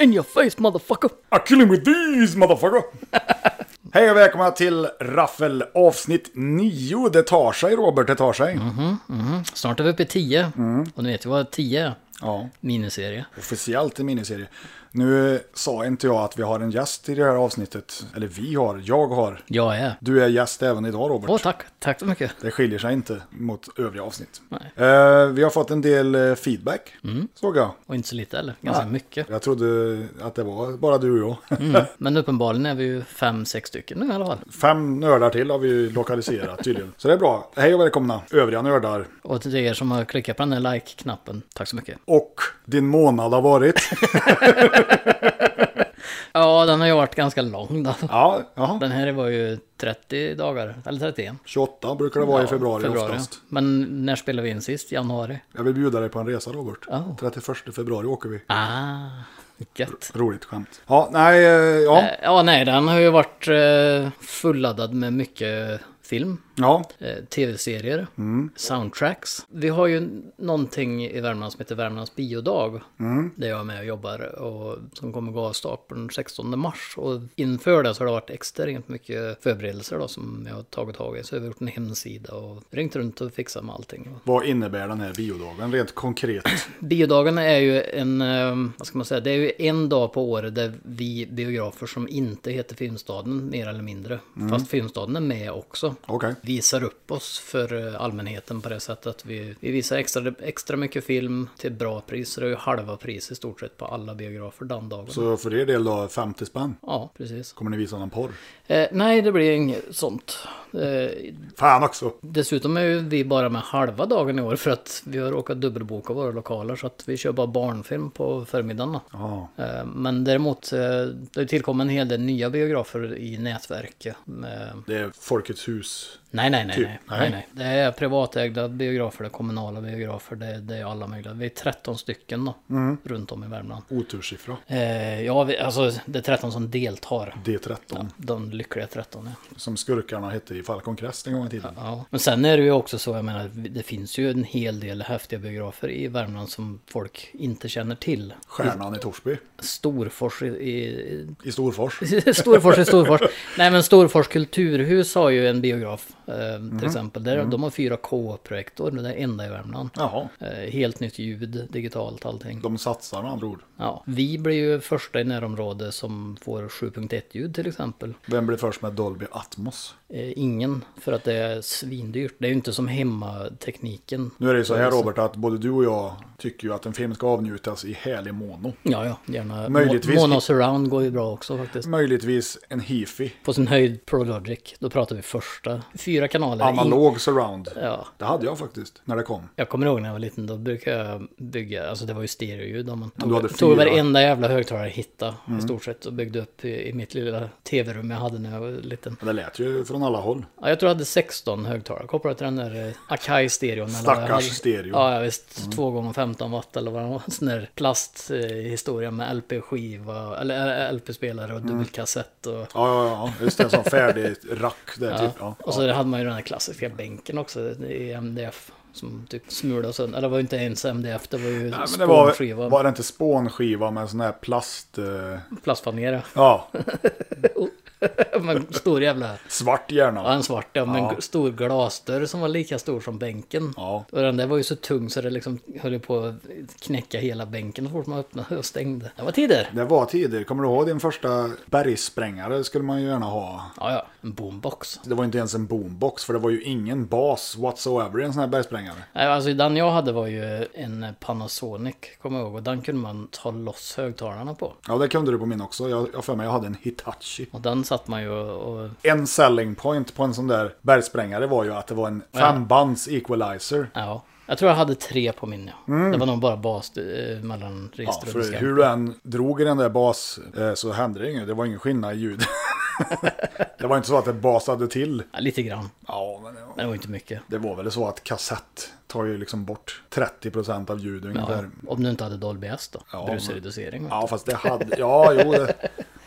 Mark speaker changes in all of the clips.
Speaker 1: In your face motherfucker!
Speaker 2: I kill him with these motherfucker! Hej och välkomna till Raffel avsnitt 9. Det tar sig Robert, det tar sig.
Speaker 1: Snart är vi uppe i 10.
Speaker 2: Mm.
Speaker 1: Och ni vet ju vad 10 är.
Speaker 2: Ja,
Speaker 1: Miniserie.
Speaker 2: officiellt en miniserie. Nu sa inte jag att vi har en gäst i det här avsnittet. Eller vi har, jag har.
Speaker 1: Jag är.
Speaker 2: Du är gäst även idag Robert.
Speaker 1: Åh tack, tack så mycket.
Speaker 2: Det skiljer sig inte mot övriga avsnitt.
Speaker 1: Nej.
Speaker 2: Eh, vi har fått en del eh, feedback, såg jag.
Speaker 1: Och inte så lite eller? Ganska mycket. Mm.
Speaker 2: Jag trodde att det var bara du och jag.
Speaker 1: Men uppenbarligen är vi ju fem, sex stycken nu i alla fall.
Speaker 2: Fem nördar till har vi ju lokaliserat tydligen. Så det är bra. Hej och välkomna övriga nördar.
Speaker 1: Och till er som har klickat på den där like-knappen, tack så mycket.
Speaker 2: Och din månad har varit.
Speaker 1: Ja, den har ju varit ganska lång då.
Speaker 2: Ja, jaha.
Speaker 1: Den här var ju 30 dagar, eller 31.
Speaker 2: 28 brukar det vara i februari, oftast.
Speaker 1: Men när spelade vi in sist? Januari?
Speaker 2: Jag vill bjuda dig på en resa Robert.
Speaker 1: Oh.
Speaker 2: 31 februari åker vi.
Speaker 1: Ah, gött.
Speaker 2: Roligt skämt. Ja, nej, eh, ja.
Speaker 1: Eh, Ja, nej, den har ju varit eh, fulladdad med mycket film,
Speaker 2: Ja,
Speaker 1: eh, tv-serier, soundtracks. Vi har ju någonting i Värmland som heter Värmlands biodag, där jag är med och jobbar, och som kommer gå av stapeln 16 mars. Och inför det så har det varit extremt mycket förberedelser då, som jag har tagit tag i. Så jag har gjort en hemsida och ringt runt och fixat med allting.
Speaker 2: vad innebär den här biodagen rent konkret?
Speaker 1: Biodagen är ju en, eh, vad ska man säga, det är ju en dag på året där vi biografer som inte heter Filmstaden, mer eller mindre, fast Filmstaden är med också,
Speaker 2: Okej.
Speaker 1: visar upp oss för eh, allmänheten på det sättet att vi, vi visar extra, extra mycket film till bra priser, det är ju halva pris i stort sett på alla biografer den dagen.
Speaker 2: Så för er del då, 50 spänn.
Speaker 1: Ja, precis.
Speaker 2: Kommer ni visa någon porr?
Speaker 1: Eh, nej, det blir inget sånt. Eh,
Speaker 2: Fan också!
Speaker 1: Dessutom är ju vi bara med halva dagen i år för att vi har råkat dubbelboka våra lokaler så att vi kör bara barnfilm på förmiddagarna.
Speaker 2: Ja,
Speaker 1: Eh, Men däremot, eh, det tillkom en hel del nya biografer i nätverket. Eh,
Speaker 2: det är Folkets hus.
Speaker 1: Nej, nej, nej,
Speaker 2: Typ,
Speaker 1: nej,
Speaker 2: nej.
Speaker 1: nej, nej. Det är privatägda biografer, det är kommunala biografer, det, det är alla möjliga. Vi är 13 stycken då,
Speaker 2: Mm.
Speaker 1: runt om i Värmland.
Speaker 2: Otursiffra.
Speaker 1: Eh, Ja, vi, alltså det är 13 som deltar.
Speaker 2: D13.
Speaker 1: De lyckliga 13, ja.
Speaker 2: Som skurkarna hette i Falcon Crest en gång i tiden.
Speaker 1: Ja, men sen är det ju också så, jag menar, det finns ju en hel del häftiga biografer i Värmland som folk inte känner till.
Speaker 2: Stjärnan i Torsby.
Speaker 1: Storfors i, i
Speaker 2: I Storfors.
Speaker 1: Storfors i Storfors. Nej men Storfors kulturhus har ju en biograf eh, till
Speaker 2: Mm.
Speaker 1: exempel. Där, De har fyra K-projektor, det är enda i Värmland.
Speaker 2: Jaha.
Speaker 1: Eh, helt nytt ljud, digitalt allting.
Speaker 2: De satsar med andra ord.
Speaker 1: Ja. Vi blir ju första i närområde som får 7.1 ljud till exempel.
Speaker 2: Vem blev först med Dolby Atmos?
Speaker 1: Eh, ingen, för att det är svindyrt. Det är ju inte som hemmatekniken.
Speaker 2: Nu är det ju så här Robert att både du och jag tycker ju att en film ska avnjutas i härlig mono.
Speaker 1: Ja, ja, gärna.
Speaker 2: Möjligtvis-
Speaker 1: Mo- Mono surround går ju bra också faktiskt.
Speaker 2: Möjligtvis en hifi.
Speaker 1: På sin höjd Prologic, då pratar vi första. Fyra kanaler.
Speaker 2: Analog surround.
Speaker 1: In- ja.
Speaker 2: Det hade jag faktiskt när det kom.
Speaker 1: Jag kommer ihåg när jag var liten, då brukade jag bygga, alltså det var ju stereoljud. om Man
Speaker 2: du hade
Speaker 1: tog, tog
Speaker 2: fyra. Mm.
Speaker 1: varenda jävla högtalare jag hittade i stort sett och byggde upp i, i mitt lilla tv-rum jag hade när jag var liten.
Speaker 2: Men Det lät ju från alla håll.
Speaker 1: Ja, jag tror jag hade 16 högtalare kopplat till den där eh, Akai-stereon. eller vad jag
Speaker 2: Stackars
Speaker 1: hade.
Speaker 2: stereo. Mm.
Speaker 1: Ja, ja visst. 2 gånger 15 watt eller vad det var. Sån där plasthistoria med LP-skiva, eller eh, LP-spelare
Speaker 2: Mm.
Speaker 1: och dubbelkassett och
Speaker 2: Ja, ja, ja. Just det. En sån färdig rack där typ. Ja.
Speaker 1: Och så hade man ju den här klassiska bänken också i MDF. Som typ smulade sönder. Eller det var ju inte ens MDF, det var ju
Speaker 2: Nej, men det
Speaker 1: spånskiva.
Speaker 2: var, var det inte spånskiva med en sån här plast... eh,
Speaker 1: Plastfanera.
Speaker 2: ja,
Speaker 1: Men stor jävla...
Speaker 2: svart
Speaker 1: Ja,
Speaker 2: gärna.
Speaker 1: en svart ja, men en stor glasdörr som var lika stor som bänken.
Speaker 2: Ja.
Speaker 1: Och den där var ju så tung så det liksom höll ju på att knäcka hela bänken så fort man öppnade och stängde. Det var tider!
Speaker 2: Det var tider. Kommer du ihåg din första bergsprängare skulle man ju gärna ha.
Speaker 1: Ja, ja. En boombox.
Speaker 2: Det var inte ens en boombox för det var ju ingen bas whatsoever i en sån här bergsprängare.
Speaker 1: Nej, Alltså den jag hade var ju en Panasonic, kommer jag ihåg. Och den kunde man ta loss högtalarna på.
Speaker 2: Ja, det kunde du på min också. Jag jag har för mig jag hade en Hitachi.
Speaker 1: Och den satt man ju och... och
Speaker 2: En selling point på en sån där bergsprängare var ju att det var en fembands equalizer.
Speaker 1: ja. Jag tror jag hade tre på min, ja. Det var nog bara bas eh, mellan
Speaker 2: Mm. Ja,
Speaker 1: register och
Speaker 2: för
Speaker 1: diskant.
Speaker 2: hur du än drog i den där bas eh, så hände det inget. Det var ingen skillnad i ljud. det var inte så att det basade till.
Speaker 1: Ja, lite grann.
Speaker 2: Ja, men det var-
Speaker 1: Men det var inte mycket.
Speaker 2: det var väl så att kassett tar ju liksom bort 30% av ljudet ungefär.
Speaker 1: Om du inte hade Dolby S då.
Speaker 2: Ja,
Speaker 1: Brusredusering.
Speaker 2: Ja, fast det hade... Ja, jo. Det...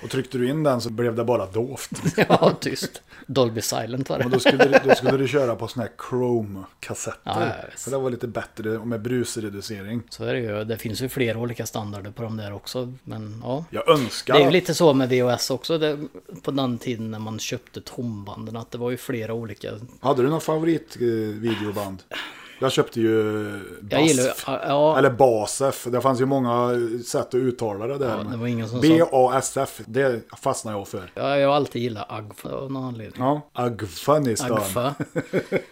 Speaker 2: Och tryckte du in den så blev det bara dovt.
Speaker 1: ja, tyst. Dolby Silent var
Speaker 2: Och
Speaker 1: det.
Speaker 2: då skulle, du- då skulle du köra på såna här Chrome-kassetter.
Speaker 1: Ja, ja, visst.
Speaker 2: För det var lite bättre och med brusreducering.
Speaker 1: Så är det ju. Det finns ju flera olika standarder på de där också. Men ja.
Speaker 2: Jag önskar...
Speaker 1: Det är ju lite så med VHS också. Det, på den tiden när man köpte tombanden. Att det var ju flera olika.
Speaker 2: Hade du någon favoritvideoband? Jag köpte ju Basf.
Speaker 1: Jag gillar ju... Ja,
Speaker 2: Eller Basf. Det fanns ju många sätt att uttala det där.
Speaker 1: Ja, det var ingen som sa-
Speaker 2: B-A-S-F. Det fastnade jag för.
Speaker 1: ja, jag har alltid gillat Agfa av någon anledning.
Speaker 2: Ja, Agfanistan.
Speaker 1: Agfa.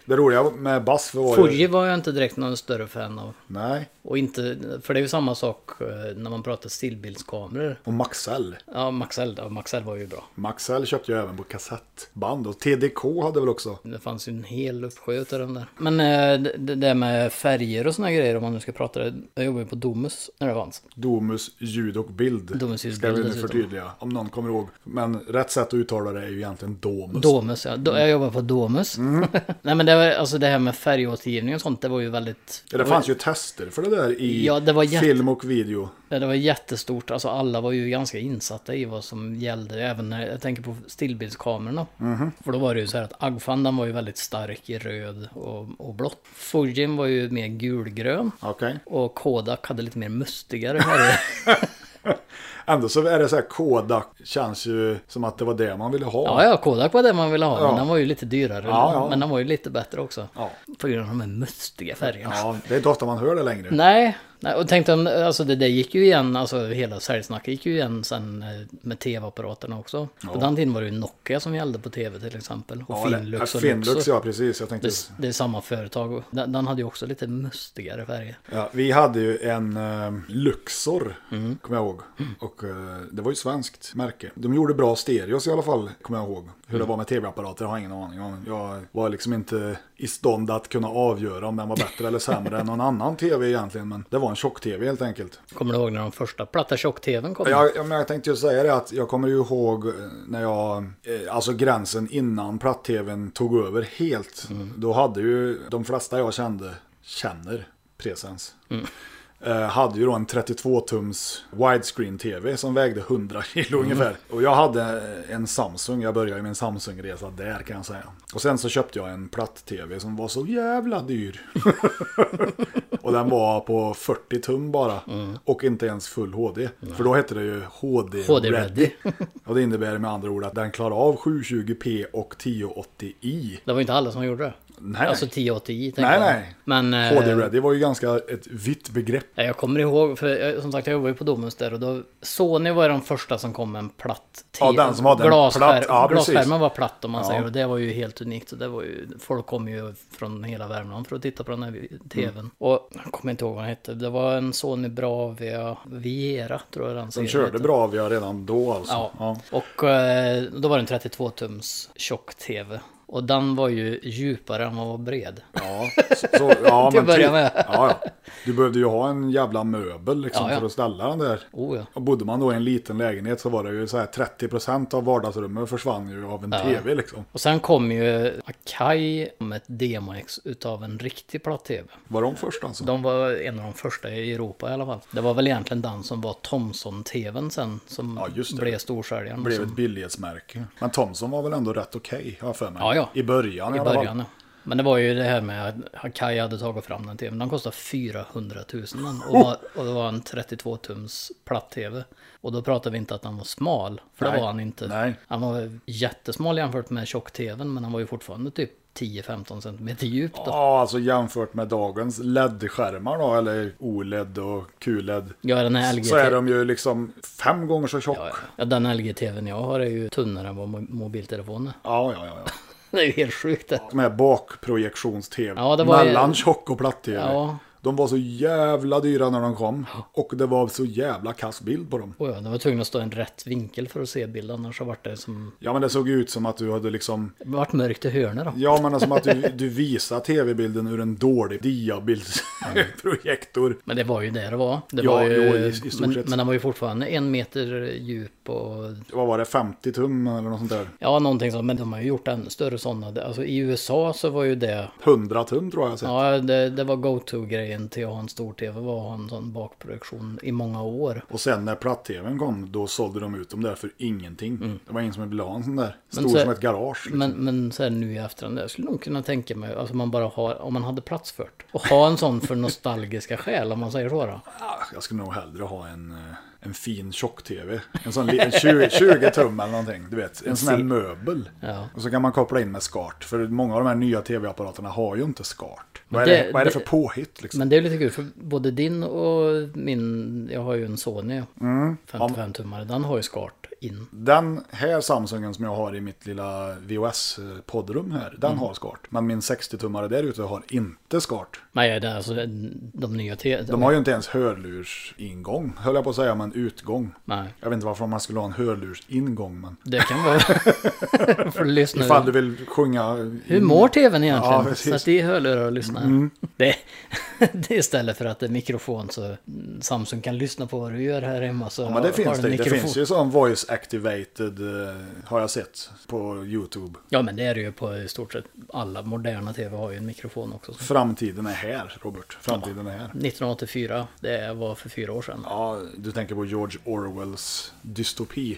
Speaker 2: Det roliga med Basf var ju...
Speaker 1: Fuji var jag inte direkt någon större fan av.
Speaker 2: Nej.
Speaker 1: Och inte, för det är ju samma sak eh, när man pratar stillbildskameror.
Speaker 2: Och Maxell.
Speaker 1: Ja, Maxell, ja, Maxell var ju bra.
Speaker 2: Maxell köpte jag även på kassettband. Och TDK hade väl också.
Speaker 1: Det fanns ju en hel uppsjö av den där. Men eh, det- det där med färger och såna grejer om man nu ska prata det. Jag jobbade ju på Domus när det fanns.
Speaker 2: Domus ljud och bild.
Speaker 1: Domus ljud och
Speaker 2: Ska vi
Speaker 1: bild
Speaker 2: nu
Speaker 1: dessutom.
Speaker 2: förtydliga. Om någon kommer ihåg. Men rätt sätt att uttala det är ju egentligen Domus.
Speaker 1: Domus, ja. Do- Jag jobbade på Domus.
Speaker 2: Mm.
Speaker 1: Nej men det, var, alltså det här med färgåtergivning och sånt, det var ju väldigt...
Speaker 2: Ja, det fanns ju tester för det där i
Speaker 1: Ja, det var jätte-
Speaker 2: film och video.
Speaker 1: Ja, Det var jättestort, alltså alla var ju ganska insatta i vad som gällde, även när jag tänker på stillbildskamerorna.
Speaker 2: Mhm.
Speaker 1: För då var det ju så här att Agfan den var ju väldigt stark i röd och, och blått. Fujin var ju mer gulgrön
Speaker 2: Okej.
Speaker 1: och Kodak hade lite mer mustigare färger.
Speaker 2: Ändå så är det så här Kodak. Känns ju som att det var det man ville ha.
Speaker 1: ja, ja, Kodak var det man ville ha,
Speaker 2: Ja.
Speaker 1: men den var ju lite dyrare.
Speaker 2: Ja, ja.
Speaker 1: Men den var ju lite bättre också.
Speaker 2: Ja.
Speaker 1: På grund av de här mustiga färgerna.
Speaker 2: Ja, det är inte ofta man hör det längre.
Speaker 1: Nej, nej, och tänkte om, alltså det där gick ju igen, alltså hela säljsnacket gick ju igen sen eh, med tv-apparaterna också. På den tiden var det ju Nokia som gällde på tv till exempel. Och
Speaker 2: Ja, eller-
Speaker 1: Finlux
Speaker 2: ja,
Speaker 1: och
Speaker 2: Finlux,
Speaker 1: Luxor.
Speaker 2: ja precis. Jag tänkte,
Speaker 1: Det, det är samma företag. Den, den hade ju också lite mustigare färger.
Speaker 2: ja, vi hade ju en eh, Luxor, kommer jag ihåg. Och eh, det var ju ett svenskt märke. De gjorde bra stereos i alla fall, kommer jag ihåg. Hur det var med tv-apparater har jag ingen aning om. Jag var liksom inte i stånd att kunna avgöra om den var bättre eller sämre än någon annan tv egentligen. Men det var en tjock-tv helt enkelt.
Speaker 1: Kommer du ihåg när de första platta tjock-tvn kom?
Speaker 2: Jag, jag, men jag tänkte ju säga det att jag kommer ju ihåg eh, när jag, eh, alltså gränsen innan platt-tvn tog över helt. Då hade ju de flesta jag kände, känner Presens. eh, Hade ju då en 32-tums widescreen-tv som vägde 100 kilo
Speaker 1: Mm.
Speaker 2: ungefär. Och jag hade en Samsung, jag började ju min Samsung-resa där kan jag säga. Och sen så köpte jag en platt-tv som var så jävla dyr. Och den var på 40 tum bara.
Speaker 1: Mm.
Speaker 2: Och inte ens full HD. För då hette det ju HD,
Speaker 1: HD
Speaker 2: ready.
Speaker 1: ready.
Speaker 2: och det innebär med andra ord att den klarar av 720p och 1080i.
Speaker 1: Det var ju inte alla som gjorde det.
Speaker 2: Nej,
Speaker 1: Alltså
Speaker 2: nej.
Speaker 1: 1080i tänkte
Speaker 2: Nej,
Speaker 1: jag.
Speaker 2: nej.
Speaker 1: Men, eh,
Speaker 2: HD ready var ju ganska ett vitt begrepp.
Speaker 1: Ja, Jag kommer ihåg, för jag, som sagt jag jobbade ju på Domus där och då Sony var de första som kom med en platt te-
Speaker 2: Ja, den som hade en
Speaker 1: glasskär-
Speaker 2: platt, ja, precis.
Speaker 1: Glasskärmen var platt om man
Speaker 2: Ja.
Speaker 1: säger och det var ju helt unikt. Och det var ju, folk kom ju från hela Värmland för att titta på den här vi- tvn.
Speaker 2: Mm.
Speaker 1: Och jag kommer inte ihåg vad den hette. Det var en Sony Bravia Viera tror jag den
Speaker 2: De
Speaker 1: serien
Speaker 2: körde
Speaker 1: hette.
Speaker 2: bra vi har redan då alltså.
Speaker 1: Ja.
Speaker 2: Ja.
Speaker 1: och eh, då var det en 32 tums tjock-tv. Och den var ju djupare än vad var bred.
Speaker 2: Ja, så, så, ja,
Speaker 1: Till att börja
Speaker 2: ty-
Speaker 1: med.
Speaker 2: Ja, ja. Du behövde ju ha en jävla möbel liksom,
Speaker 1: Ja, ja.
Speaker 2: för att ställa den där.
Speaker 1: Oh ja.
Speaker 2: Och bodde man då i en liten lägenhet så var det ju så här 30% av vardagsrummet försvann ju av en tv liksom.
Speaker 1: Och sen kom ju Akai med ett demoex utav en riktig platt-tv.
Speaker 2: Var de först alltså?
Speaker 1: De var en av de första i Europa i alla fall. Det var väl egentligen den som var Thomson-tvn sen som
Speaker 2: Ja, just det.
Speaker 1: blev storsäljaren.
Speaker 2: blev
Speaker 1: som,
Speaker 2: ett billighetsmärke. Men Thomson var väl ändå rätt okej, har jag för mig.
Speaker 1: Ja, ja.
Speaker 2: I början
Speaker 1: I
Speaker 2: alla fall.
Speaker 1: början. ja. Men det var ju det här med att Hakai hade tagit fram den tvn. Den kostade 400 000 den.
Speaker 2: Oh!
Speaker 1: och, var, och det var en 32-tums platt-tv. Och då pratade vi inte att den var smal, för
Speaker 2: Nej.
Speaker 1: det var han inte.
Speaker 2: Nej.
Speaker 1: Han var jättesmal jämfört med tjock-tvn, men han var ju fortfarande typ 10-15 centimeter djup då.
Speaker 2: Ja, alltså jämfört med dagens LED-skärmar då, eller OLED och QLED.
Speaker 1: Ja, den här LG
Speaker 2: Så är de ju liksom fem gånger så tjock.
Speaker 1: Ja, ja, den LG-tvn jag har är ju tunnare än vad mo- mobiltelefonen är.
Speaker 2: Ja, ja, ja. ja.
Speaker 1: Det är ju helt sjukt det.
Speaker 2: De här bakprojektions-tv.
Speaker 1: Ja, det var ju-
Speaker 2: Mellan tjock och platt-tv.
Speaker 1: Ja.
Speaker 2: De var så jävla dyra när de kom. Och det var så jävla kass bild på dem.
Speaker 1: Oj, ja, det var tvungen att stå i en rätt vinkel för att se bilden, annars har varit det som...
Speaker 2: Ja, men det såg ut som att du hade liksom...
Speaker 1: Det vart mörkt i hörnet då.
Speaker 2: Ja, men det som att du, du visar tv-bilden ur en dålig diabildsprojektor.
Speaker 1: Men det var ju det det var. Det
Speaker 2: Ja,
Speaker 1: var ju,
Speaker 2: jo, i- i stort
Speaker 1: men,
Speaker 2: sett.
Speaker 1: men den var ju fortfarande en meter djup och...
Speaker 2: vad var det, 50 tum eller något sånt där.
Speaker 1: Ja, någonting sånt. Men de har ju gjort ännu större sådana. Alltså i USA så var ju det...
Speaker 2: 100 tum tror jag jag har sett.
Speaker 1: Ja, det, det var go-to-grej serien till att ha en stor-tv var att ha en sån bakprojektion i många år.
Speaker 2: Och sen när platt-tvn kom, då sålde de ut dem där för ingenting. Det var ingen som ville ha en sån där. Stor
Speaker 1: Mm. Men så-
Speaker 2: som ett garage. Liksom.
Speaker 1: Men, men så här nu i efterhand, jag skulle nog kunna tänka mig, alltså man bara har, om man hade plats för det. Och ha en sån för nostalgiska skäl, om man säger så då.
Speaker 2: Ah, Jag skulle nog hellre ha en, eh, en fin tjock-tv. En sån liten 20, 20 tum eller någonting. Du vet, en sån här
Speaker 1: se-
Speaker 2: möbel.
Speaker 1: Ja.
Speaker 2: Och så kan man koppla in med skart. För många av de här nya tv-apparaterna har ju inte skart.
Speaker 1: Men
Speaker 2: Vad är det,
Speaker 1: det-
Speaker 2: vad är det för
Speaker 1: det-
Speaker 2: påhitt liksom?
Speaker 1: Men det är lite kul, för både din och min, jag har ju en Sony
Speaker 2: Mm.
Speaker 1: 55-tummare, den har ju skart in.
Speaker 2: Den här Samsungen som jag har i mitt lilla VHS-poddrum här, den
Speaker 1: Mm.
Speaker 2: har skart. Men min 60-tummare där ute har inte skart.
Speaker 1: Nej, det är alltså den- de nya te-
Speaker 2: De har ju inte ens hörlursingång, höll jag på att säga, men utgång.
Speaker 1: Nej,
Speaker 2: Jag vet inte varför man skulle ha en hörlursingång, men
Speaker 1: det kan vara... för att lyssna.
Speaker 2: ifall du vill sjunga...
Speaker 1: Hur mår tvn egentligen?
Speaker 2: Ja, precis. Mm.
Speaker 1: så att det är hörlurar och lyssna. Det, det är istället för att det är mikrofon så Samsung kan lyssna på vad du gör här hemma. Så
Speaker 2: Ja, men det finns
Speaker 1: en
Speaker 2: det. Det
Speaker 1: mikrofon.
Speaker 2: finns ju sån voice activated, eh, har jag sett på YouTube.
Speaker 1: Ja, men det är det ju på i stort sett alla moderna tv har ju en mikrofon också. Så.
Speaker 2: Framtiden är här, Robert. Framtiden är här.
Speaker 1: 1984, det var för fyra år sedan.
Speaker 2: Ja, du tänker på George Orwells dystopi.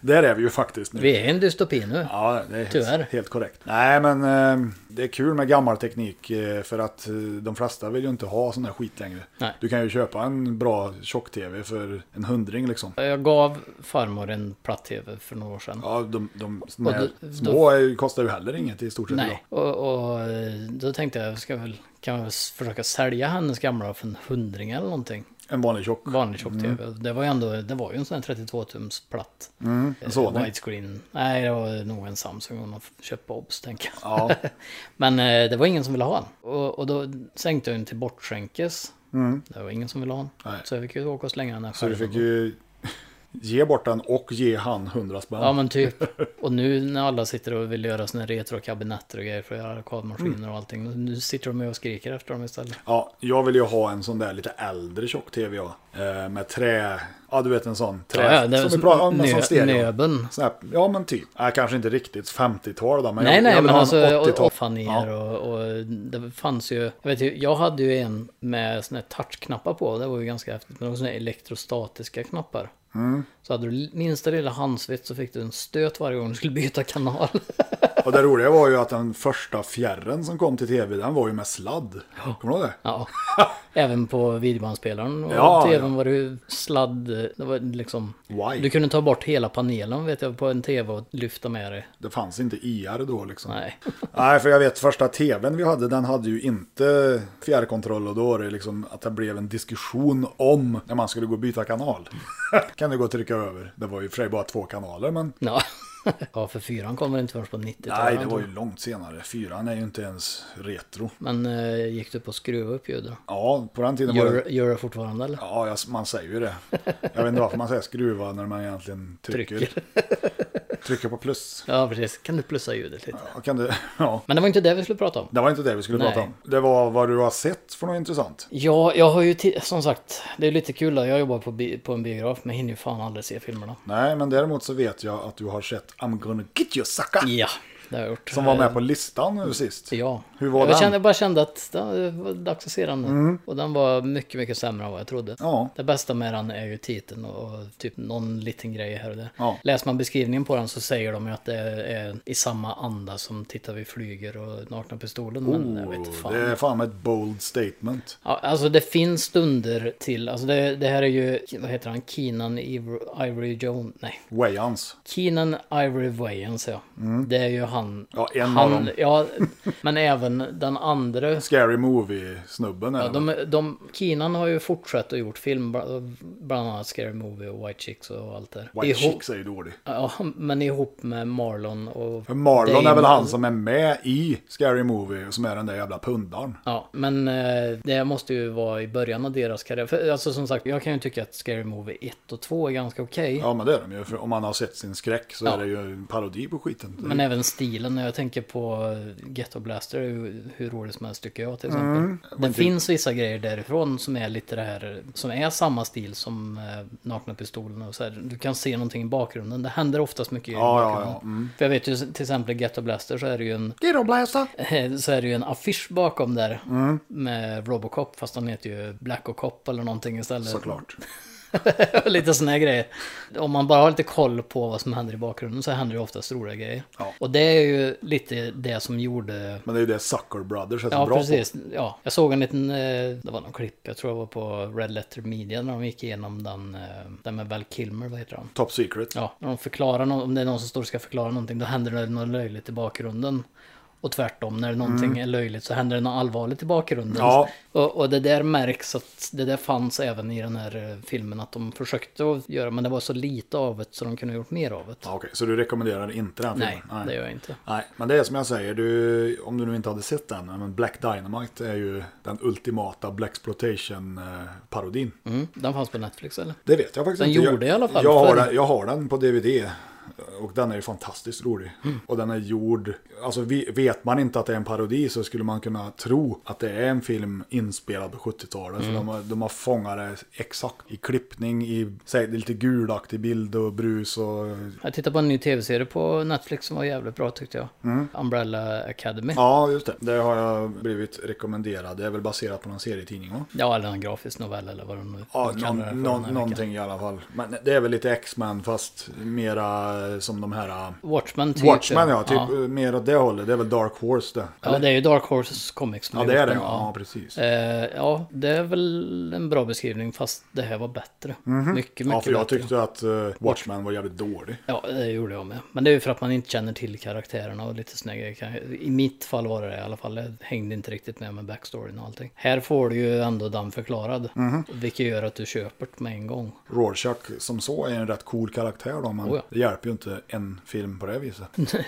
Speaker 2: Där är vi ju faktiskt nu.
Speaker 1: Vi är i en dystopi nu.
Speaker 2: Ja, det är helt,
Speaker 1: Tyvärr.
Speaker 2: helt korrekt. Nej, men eh, det är kul med gammal teknik eh, för att eh, de flesta vill ju inte ha sån här skit längre.
Speaker 1: Nej.
Speaker 2: Du kan ju köpa en bra tjock-tv för en hundring liksom.
Speaker 1: Jag gav farmor en platt-tv för några år sedan.
Speaker 2: Ja, de, de såna
Speaker 1: Och
Speaker 2: här
Speaker 1: då- då-
Speaker 2: små är ju- kostar ju heller inget i stort sett idag.
Speaker 1: Nej, och, och eh, då tänkte jag, ska väl, kan jag väl försöka sälja hennes gamla för en hundring eller någonting.
Speaker 2: En vanlig tjock.
Speaker 1: vanlig tjock-tv. Det var ju ändå, det var ju en sån här 32-tums platt.
Speaker 2: Mm, en Sony.
Speaker 1: Eh, Widescreen. Nej, det var nog en Samsung hon har köpt på Obs, tänker jag.
Speaker 2: Ja,
Speaker 1: Men eh, det var ingen som ville ha den. Och, och då sänkte jag den till bortskänkes. Det var ingen som ville ha den.
Speaker 2: Mm. Nej.
Speaker 1: Så jag fick ju åka och slänga den här
Speaker 2: så du fick ju ge bort den och ge han hundra spänn.
Speaker 1: Ja men typ. Och nu när alla sitter och vill göra sina retrokabinetter och grejer för att göra arkadmaskiner
Speaker 2: Mm.
Speaker 1: och allting. Nu sitter de ju och skriker efter dem istället.
Speaker 2: Ja, jag vill ju ha en sån där lite äldre tjock-tv ja. eh, Med trä, ja du vet en sån trä.
Speaker 1: Ja, ja, det är
Speaker 2: som vi
Speaker 1: som
Speaker 2: pratade om, en
Speaker 1: nö-
Speaker 2: sån stereo.
Speaker 1: nöben.
Speaker 2: Sån här, ja men typ. Nej, kanske inte riktigt 50-tal då. Men
Speaker 1: Nej,
Speaker 2: jag,
Speaker 1: nej,
Speaker 2: jag vill
Speaker 1: men
Speaker 2: ha en
Speaker 1: alltså
Speaker 2: 80-tal.
Speaker 1: och, och fanér och, och det fanns ju, jag vet ju, jag hade ju en med såna här touchknappar på, det var ju ganska häftigt, men det var såna här elektrostatiska knappar.
Speaker 2: Mm.
Speaker 1: Så hade du minsta lilla handsvett så fick du en stöt varje gång du skulle byta kanal.
Speaker 2: Och det roliga var ju att den första fjärren som kom till tv, den var ju med sladd. Kommer du ihåg det?
Speaker 1: ja. Även på videobandspelaren och
Speaker 2: Ja,
Speaker 1: tvn
Speaker 2: ja.
Speaker 1: var det ju sladd, det var liksom...
Speaker 2: Why?
Speaker 1: Du kunde ta bort hela panelen vet jag på en tv och lyfta med det.
Speaker 2: Det fanns inte IR då liksom.
Speaker 1: Nej.
Speaker 2: Nej, för jag vet första tvn vi hade, den hade ju inte fjärrkontroll och då var det liksom att det blev en diskussion om när man skulle gå och byta kanal. kan du gå och trycka över? Det var ju för sig bara två kanaler, men
Speaker 1: Ja. ja, för fyran kommer inte förrän på 90-talet.
Speaker 2: nej, det var ju långt senare. Fyran är ju inte ens retro.
Speaker 1: Men eh, gick du på att skruva upp ljudet?
Speaker 2: Ja, på den tiden var det...
Speaker 1: Gör, gör det fortfarande eller?
Speaker 2: Ja, jag- man säger ju det. Jag vet inte varför man säger skruva när man egentligen trycker. Trycker, på plus.
Speaker 1: Ja, precis. Kan du plussa ljudet lite?
Speaker 2: Ja, Kan du... ja.
Speaker 1: Men det var inte det vi skulle prata om.
Speaker 2: Det var inte det vi skulle
Speaker 1: Nej.
Speaker 2: prata om. Det var vad du har sett för något intressant.
Speaker 1: Ja, jag har ju ti- som sagt, det är lite kul då. Jag jobbar på, bi- på en biograf men hinner ju fan aldrig se filmerna.
Speaker 2: Nej, men däremot så vet jag att du har sett I'm gonna get you sucker.
Speaker 1: Ja, det har jag gjort.
Speaker 2: Som var
Speaker 1: Eh,
Speaker 2: med på listan nu sist.
Speaker 1: Ja.
Speaker 2: Hur var
Speaker 1: jag
Speaker 2: den?
Speaker 1: Kände, jag bara kände att det var dags att se den nu. Och den var mycket, mycket sämre än vad jag trodde.
Speaker 2: Ja.
Speaker 1: Det bästa med den är ju titeln och, och typ någon liten grej här och där.
Speaker 2: Ja.
Speaker 1: Läser man beskrivningen på den så säger de ju att det är i samma anda som Titta vi flyger och Nakna Pistolen. men jag vet
Speaker 2: Oh,
Speaker 1: fan.
Speaker 2: det är fan ett bold statement.
Speaker 1: Ja, alltså det finns stunder till, alltså det, det här är ju, vad heter han, Keenan Ivory, Ivory Jones, nej,
Speaker 2: Wayans.
Speaker 1: Keenan Ivory Wayans ja. Det är ju han.
Speaker 2: Mm. Ja, en
Speaker 1: han,
Speaker 2: av dem.
Speaker 1: Ja, men även den andra.
Speaker 2: Scary Movie-snubben är
Speaker 1: Ja,
Speaker 2: det väl?
Speaker 1: de, de, Keenan har ju fortsatt och gjort film, bra- bland annat Scary Movie och White Chicks och allt det
Speaker 2: White
Speaker 1: Ihop-
Speaker 2: Chicks är ju dålig.
Speaker 1: Ja, men ihop med Marlon och...
Speaker 2: För Marlon är
Speaker 1: Damon.
Speaker 2: väl han som är med i Scary Movie och som är den där jävla pundaren.
Speaker 1: Ja, men eh, det måste ju vara i början av deras karriär. För, alltså som sagt, jag kan ju tycka att Scary Movie 1 och 2 är ganska okej.
Speaker 2: Ja men det är de ju, för om man har sett sin skräck så
Speaker 1: Ja.
Speaker 2: är det ju en parodi på skiten.
Speaker 1: Men även Steve bilen när jag tänker på Ghetto Blaster, hur, hur roligt som helst tycker jag till exempel. Det finns vissa grejer därifrån som är lite det här, som är samma stil som eh, Nakna Pistolen och så här. Du kan se någonting i bakgrunden, det händer oftast mycket i
Speaker 2: Ja, ja,
Speaker 1: bakgrunden.
Speaker 2: ja. Mm.
Speaker 1: För jag vet ju till exempel Ghetto Blaster så är det ju en
Speaker 2: Ghetto Blaster!
Speaker 1: så är det ju en affisch bakom där
Speaker 2: Mm.
Speaker 1: med Robocop, fast han heter ju Black Cop eller någonting istället.
Speaker 2: Såklart.
Speaker 1: lite såna här grejer. Om man bara har lite koll på vad som händer i bakgrunden så händer det oftast roliga grejer.
Speaker 2: Ja.
Speaker 1: Och det är ju lite det som gjorde...
Speaker 2: Men det är ju det Sucker Brothers är så
Speaker 1: Ja,
Speaker 2: bra
Speaker 1: precis. Ja, jag såg en liten, eh, det var någon klipp, jag tror det var på Red Letter Media när de gick igenom den, eh, den med Val Kilmer, vad heter han?
Speaker 2: på. Top Secret.
Speaker 1: Ja, när de förklarar no- om det är någon som står och ska förklara någonting, då händer det något löjligt i bakgrunden. Och tvärtom, när någonting är löjligt så händer det något allvarligt i bakgrunden.
Speaker 2: Mm. Ja.
Speaker 1: Och, och det där märks att det där fanns även i den här eh, filmen, att de försökte att göra, men det var så lite av det så de kunde ha gjort mer av det.
Speaker 2: Ja, Okej, så du rekommenderar inte den
Speaker 1: Nej,
Speaker 2: filmen?
Speaker 1: det gör jag inte.
Speaker 2: Nej, men det är som jag säger, du, om du nu inte hade sett den, men Black Dynamite är ju den ultimata Black Exploitation-parodin.
Speaker 1: Mm. Den fanns på Netflix eller?
Speaker 2: Det vet jag faktiskt
Speaker 1: Den
Speaker 2: inte.
Speaker 1: gjorde
Speaker 2: jag,
Speaker 1: i alla fall
Speaker 2: Jag har,
Speaker 1: förr.
Speaker 2: den, jag har den på DVD. eh, Och den är ju fantastiskt rolig.
Speaker 1: Mm.
Speaker 2: Och den är gjord... Alltså vi- vet man inte att det är en parodi så skulle man kunna tro att det är en film inspelad på 70-talet.
Speaker 1: Mm.
Speaker 2: För de har, de har fångat det exakt i klippning, i säg, det är lite gulaktig bild och brus och...
Speaker 1: Jag tittade på en ny tv-serie på Netflix som var jävligt bra tyckte jag. Umbrella Academy. Ja.
Speaker 2: Mm. Ja, just det. Det har jag blivit rekommenderad. Det är väl baserat på någon serietidning va?
Speaker 1: eller en grafisk novell eller vad de nu
Speaker 2: Ja,
Speaker 1: kallar
Speaker 2: någon,
Speaker 1: det för den
Speaker 2: någon,
Speaker 1: här veckan.
Speaker 2: någonting i alla fall. Men det är väl lite X-Men fast mera eh, som de här...
Speaker 1: Watchmen typ.
Speaker 2: Watchmen ja, typ mer åt det hållet. Det är väl Dark Horse det.
Speaker 1: Ja, det är ju Dark Horse Comics som
Speaker 2: Ja,
Speaker 1: har
Speaker 2: det är
Speaker 1: gjort
Speaker 2: det.
Speaker 1: den,
Speaker 2: Ja, precis.
Speaker 1: Eh, ja, det är väl en bra beskrivning fast det här var bättre. Mycket, mycket
Speaker 2: Mhm. Ja, för jag
Speaker 1: bättre.
Speaker 2: tyckte att eh, Watchmen var jävligt dålig.
Speaker 1: Ja, det gjorde jag med. Men det är ju för att man inte känner till karaktärerna och lite såna grejer. kan- I mitt fall var det det i alla fall. Jag hängde inte riktigt med med backstoryn och allting. Här får du ju ändå den förklarad.
Speaker 2: Mhm.
Speaker 1: Vilket gör att du köper det med en gång.
Speaker 2: Rorschach som så är en rätt cool karaktär då, men
Speaker 1: Oh, ja.
Speaker 2: det hjälper ju inte en film på det viset.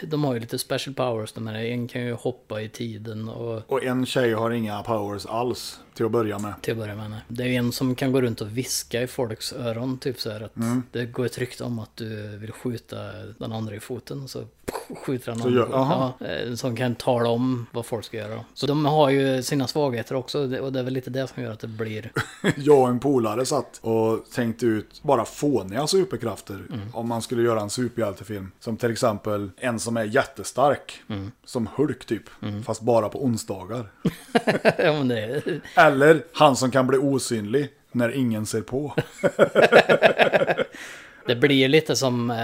Speaker 1: De har ju lite special powers de här. En kan ju hoppa i tiden och
Speaker 2: Och en tjej har inga powers alls till att börja med.
Speaker 1: till att börja med. nej. Det är ju en som kan gå runt och viska i folks öron. Typ så här att
Speaker 2: Mm.
Speaker 1: det går ett rykte om att du vill skjuta den andra i foten. Och så skjuter han någon. i
Speaker 2: gör-
Speaker 1: foten.
Speaker 2: aha.
Speaker 1: Ja, eh, som kan tala om vad folk ska göra. Så de har ju sina svagheter också. det- Och det är väl lite det som gör att det blir.
Speaker 2: Jag och en polare satt och tänkte ut bara fåniga superkrafter
Speaker 1: Mm.
Speaker 2: om man skulle göra en superhjältefilm. Som till exempel en som är jättestark,
Speaker 1: Mm.
Speaker 2: som Hulk typ, fast bara på onsdagar.
Speaker 1: ja, men det är...
Speaker 2: Eller han som kan bli osynlig när ingen ser på.
Speaker 1: Det blir lite som eh,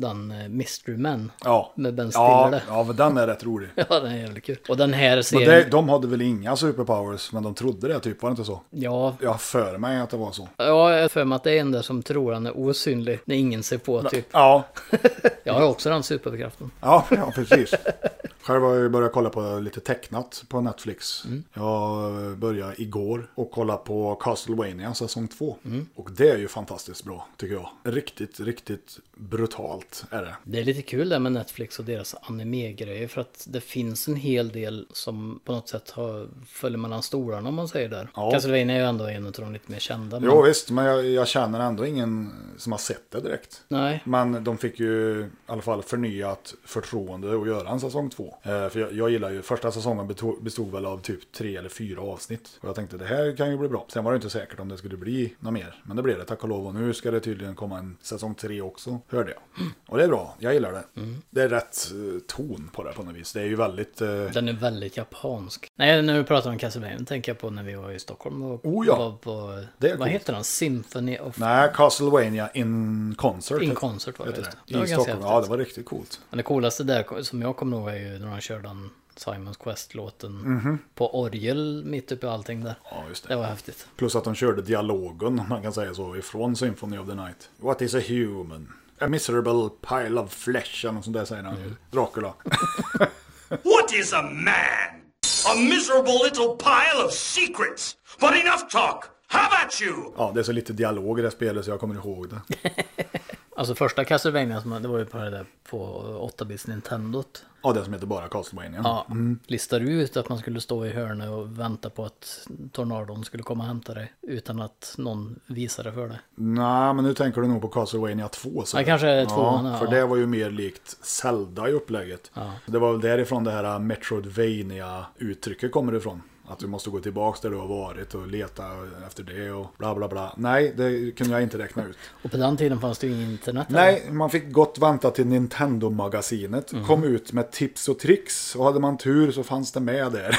Speaker 1: den eh, Mystery Man.
Speaker 2: Ja,
Speaker 1: Med Ben
Speaker 2: ja,
Speaker 1: Stiller.
Speaker 2: ja men den är rätt rolig.
Speaker 1: Ja, den är jävligt kul. Och den här
Speaker 2: Men
Speaker 1: serien.
Speaker 2: det, de hade väl inga superpowers, men de trodde det typ, var det inte så?
Speaker 1: Ja,
Speaker 2: Jag har för mig att det var så.
Speaker 1: Ja, jag har för mig att det är en där som tror han är osynlig när ingen ser på typ.
Speaker 2: Ja,
Speaker 1: Jag har också den superkraften.
Speaker 2: ja, ja precis. Själv har jag börjat kolla på lite tecknat på Netflix. Jag började igår och kolla på Castlevania säsong 2. Och det är ju fantastiskt bra, tycker jag. Riktigt, riktigt brutalt är det.
Speaker 1: Det är lite kul det med Netflix och deras anime-grejer för att det finns en hel del som på något sätt har följer mellan stolarna om man säger där.
Speaker 2: Ja.
Speaker 1: Castlevania är ju ändå en av de lite mer kända. Men...
Speaker 2: Jo visst, men jag, jag känner ändå ingen som har sett det direkt.
Speaker 1: Nej.
Speaker 2: Men de fick ju i alla fall förnyat förtroende att göra en säsong två. Eh, för jag, jag gillar ju, första säsongen beto- bestod väl av typ tre eller fyra avsnitt. Och jag tänkte det här kan ju bli bra. Sen var det inte säkert om det skulle bli något mer. Men det blev det tack och lov. Och nu ska det tydligen komma en säsong tre också, hörde jag. Och det är bra, jag gillar det.
Speaker 1: Mm.
Speaker 2: Det är rätt eh, ton på det på något vis. Det är ju väldigt... Eh,
Speaker 1: Den är väldigt japansk. Nej, när du pratar om Castlevania tänker jag på när vi var i Stockholm och
Speaker 2: Oh, ja.
Speaker 1: var på...
Speaker 2: Det är
Speaker 1: vad
Speaker 2: coolt.
Speaker 1: heter den? Symphony of...
Speaker 2: nej, Castlevania in concert.
Speaker 1: In
Speaker 2: heter-
Speaker 1: Concert var det,
Speaker 2: heter
Speaker 1: just det.
Speaker 2: det.
Speaker 1: Det var
Speaker 2: I
Speaker 1: ganska
Speaker 2: Stockholm,
Speaker 1: häftigt.
Speaker 2: ja det var riktigt coolt.
Speaker 1: Men det coolaste där som jag kommer ihåg är ju när de kör den Simons Quest-låten på orgel mitt uppe i allting där.
Speaker 2: Mhm. Ja, just det.
Speaker 1: Det var häftigt.
Speaker 2: Plus att de körde dialogen, om man kan säga så, ifrån Symphony of the Night. What is a human? A miserable pile of flesh, eller något sånt där säger han ju.
Speaker 1: Mm.
Speaker 2: Dracula.
Speaker 3: What is a man? A miserable little pile of secrets. But enough talk. How about you?
Speaker 2: Ja, det är så lite dialog i det spelet så jag kommer ihåg det.
Speaker 1: Alltså första Castlevania som det var ju på det där på 8-bits Nintendot.
Speaker 2: Ja, det som heter bara Castlevania.
Speaker 1: Ja, listar ut att man skulle stå i hörnet och vänta på att tornadon skulle komma och hämta dig utan att någon visade för dig.
Speaker 2: Nej, men nu tänker du nog på Castlevania 2. Så
Speaker 1: Ja, kanske är tvåan,
Speaker 2: ja,
Speaker 1: ja.
Speaker 2: För det var ju mer likt Zelda i upplägget. Det var väl därifrån det här metroidvania uttrycket kommer ifrån. Att du måste gå tillbaka där du har varit och leta efter det och bla bla bla. Nej, det kunde jag inte räkna ut.
Speaker 1: Och på den tiden fanns det ju ingen internet. heller.
Speaker 2: Nej, man fick gott vänta till Nintendo-magasinet. Kom ut med tips och tricks. Och hade man tur så fanns det med där.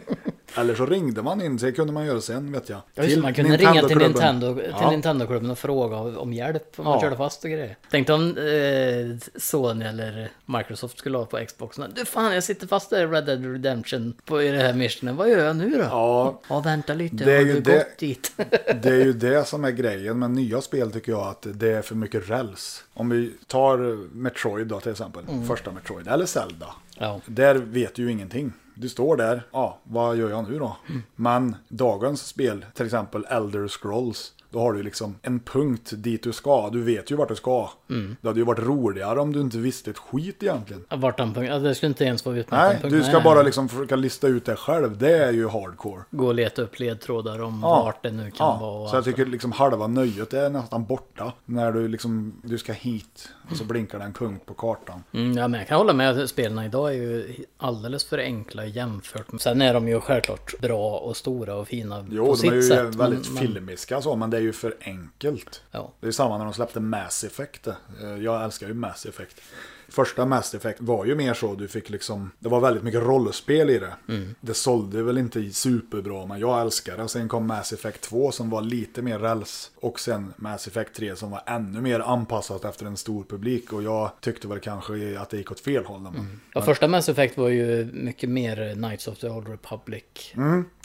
Speaker 2: Eller så ringde man in sig, kunde man göra sen vet jag.
Speaker 1: Ja, just, det, man kunde ringa till,
Speaker 2: Nintendoklubben.
Speaker 1: Nintendo, till
Speaker 2: Ja.
Speaker 1: Nintendoklubben och fråga om hjälp om man
Speaker 2: Ja.
Speaker 1: körde fast och grejer. Tänkte om eh, Sony eller Microsoft skulle ha på Xboxen. Du fan, jag sitter fast där i Red Dead Redemption på, i det här missionen. Vad gör jag nu då?
Speaker 2: Ja,
Speaker 1: Ja, vänta lite.
Speaker 2: Det är
Speaker 1: har
Speaker 2: ju
Speaker 1: du
Speaker 2: det-
Speaker 1: gått dit?
Speaker 2: det är ju det som är grejen med nya spel tycker jag att det är för mycket räls. Om vi tar Metroid då till exempel, första Metroid, eller Zelda.
Speaker 1: Mm. ja.
Speaker 2: Där vet du ju ingenting. Du står där, ja, vad gör jag nu då?
Speaker 1: Mm.
Speaker 2: Men dagens spel, till exempel Elder Scrolls, då har du liksom en punkt dit du ska. Du vet ju vart du ska.
Speaker 1: Mm.
Speaker 2: Det hade ju varit roligare om du inte visste ett skit egentligen.
Speaker 1: Vart han punkt? Ja, det skulle inte ens vara utmärkt.
Speaker 2: Nej,
Speaker 1: punkt.
Speaker 2: du ska bara liksom försöka lista ut det själv. Det är ju hardcore.
Speaker 1: Gå och leta upp ledtrådar om
Speaker 2: Ja.
Speaker 1: vart det nu kan
Speaker 2: Ja,
Speaker 1: vara. och
Speaker 2: Så jag
Speaker 1: allt.
Speaker 2: tycker liksom halva nöjet är nästan borta. När du liksom, du ska hit och så blinkar det en punkt på kartan.
Speaker 1: Mm, ja, men jag kan hålla med. Spelen idag är ju alldeles för enkla jämfört med... Sen är de ju självklart bra och stora och fina
Speaker 2: Jo,
Speaker 1: på
Speaker 2: de
Speaker 1: sitt
Speaker 2: är ju
Speaker 1: sätt. men-
Speaker 2: väldigt
Speaker 1: men-
Speaker 2: filmiska så, men det är ju för enkelt.
Speaker 1: Ja.
Speaker 2: Det är samma när de släppte Mass Effect. Eh, Jag älskar ju Mass Effect. Första Mass Effect var ju mer så, du fick liksom, det var väldigt mycket rollspel i det.
Speaker 1: Mm.
Speaker 2: Det sålde väl inte superbra, men jag älskar det. Sen kom Mass Effect 2 som var lite mer räls. Och sen Mass Effect 3 som var ännu mer anpassat efter en stor publik. Och jag tyckte väl kanske att det gick åt fel håll. när man-
Speaker 1: Ja, första Mass Effect var ju mycket mer Knights of the Old Republic.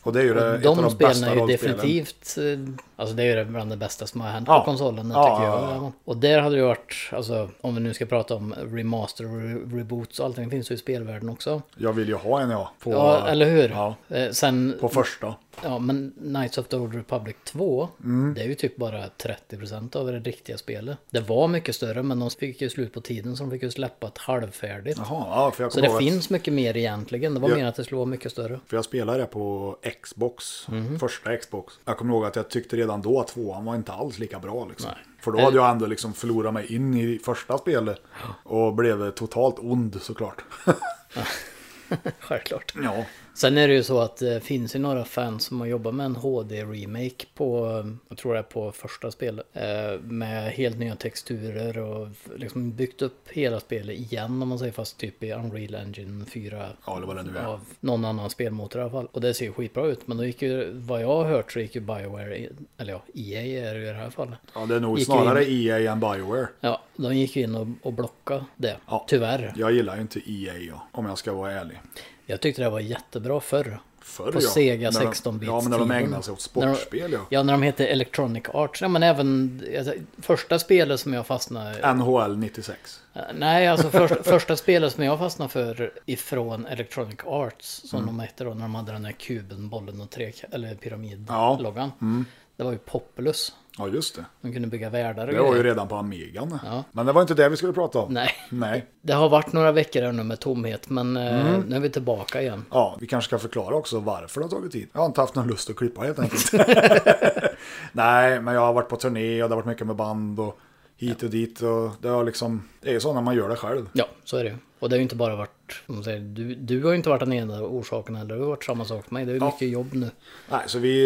Speaker 2: Och det är ju det, Eh, ett av
Speaker 1: de
Speaker 2: de
Speaker 1: spelen
Speaker 2: bästa
Speaker 1: är ju
Speaker 2: rollspelen.
Speaker 1: definitivt, eh, alltså det är ju det bland det bästa som har hänt
Speaker 2: Ja.
Speaker 1: på konsolen
Speaker 2: Ja,
Speaker 1: tycker jag.
Speaker 2: ja, ja.
Speaker 1: Och där hade det ju varit, alltså om vi nu ska prata om remaster och re- reboots och allting finns ju i spelvärlden också.
Speaker 2: Jag vill ju ha en ja. På,
Speaker 1: Ja, eller hur?
Speaker 2: Ja,
Speaker 1: Eh, Sen,
Speaker 2: på första.
Speaker 1: ja men Knights of the Old Republic 2,
Speaker 2: Mm.
Speaker 1: det är ju typ bara 30% av det riktiga spelet. Det var mycket större men de fick ju slut på tiden så de fick ju släppa ett halvfärdigt.
Speaker 2: Jaha, ja, för jag
Speaker 1: Så
Speaker 2: kommer
Speaker 1: det
Speaker 2: ihåg att-
Speaker 1: finns mycket mer egentligen, det var
Speaker 2: Ja.
Speaker 1: mer att det skulle vara mycket större.
Speaker 2: För jag spelade det på Xbox,
Speaker 1: Mhm.
Speaker 2: första Xbox. Jag kommer ihåg att jag tyckte redan då att tvåan var inte alls lika bra. Liksom. För då hade
Speaker 1: Eh.
Speaker 2: jag ändå liksom förlorat mig in i första spelet och blev totalt ond såklart.
Speaker 1: Självklart.
Speaker 2: ja.
Speaker 1: Sen är det ju så att det finns ju några fans som har jobbat med en HD-remake på, eh, jag tror det är på första spelet, eh, med helt nya texturer och liksom byggt upp hela spelet igen om man säger, fast typ i Unreal Engine 4.
Speaker 2: Ja, eller vad det nu är.
Speaker 1: Av någon annan spelmotor i alla fall. Och det ser ju skitbra ut, men då gick ju, vad jag har hört så gick ju Bioware, in- eller ja, EA är det ju i det här fallet.
Speaker 2: ja, det är nog
Speaker 1: Gick ju
Speaker 2: snarare
Speaker 1: in-
Speaker 2: EA än Bioware.
Speaker 1: Ja, de gick ju in och, och blockade det,
Speaker 2: Ja.
Speaker 1: tyvärr.
Speaker 2: Jag gillar ju inte EA ja, om jag ska vara ärlig.
Speaker 1: Jag tyckte det var jättebra förr.
Speaker 2: Förr,
Speaker 1: På
Speaker 2: ja.
Speaker 1: Sega
Speaker 2: När de-
Speaker 1: 16-bits
Speaker 2: Ja, men när de
Speaker 1: tiden.
Speaker 2: ägnade sig åt sportspel
Speaker 1: när
Speaker 2: ja.
Speaker 1: de, Ja, när de hette Electronic Arts. Ja, men även alltså, första spelet som jag fastnade...
Speaker 2: NHL 96.
Speaker 1: Nej, alltså först, första spelet som jag fastnade för ifrån Electronic Arts, som
Speaker 2: Mm.
Speaker 1: de hette då, när de hade den här kuben, bollen och tre, eller pyramidloggan.
Speaker 2: Mm.
Speaker 1: Det var ju Populus.
Speaker 2: Ja, just det.
Speaker 1: De kunde bygga världar och
Speaker 2: Det var ju
Speaker 1: grejer.
Speaker 2: redan på Amigan. Men det var inte det vi skulle prata om.
Speaker 1: Eh. Nej.
Speaker 2: Nej.
Speaker 1: Det har varit några veckor här nu med tomhet, men eh,
Speaker 2: Mm.
Speaker 1: nu är vi tillbaka igen.
Speaker 2: Ja, vi kanske ska förklara också varför det har tagit tid. Jag har inte haft någon lust att klippa helt enkelt. Nej, men jag har varit på turné och det har varit mycket med band och hit och dit. Och det, har liksom, det är så när man gör det själv.
Speaker 1: Ja, så är det ju. Och det har ju inte bara varit, om man säger, du, du har ju inte varit den enda orsaken heller, du har varit samma sak för mig. Det är ju mycket jobb nu.
Speaker 2: Nej, så vi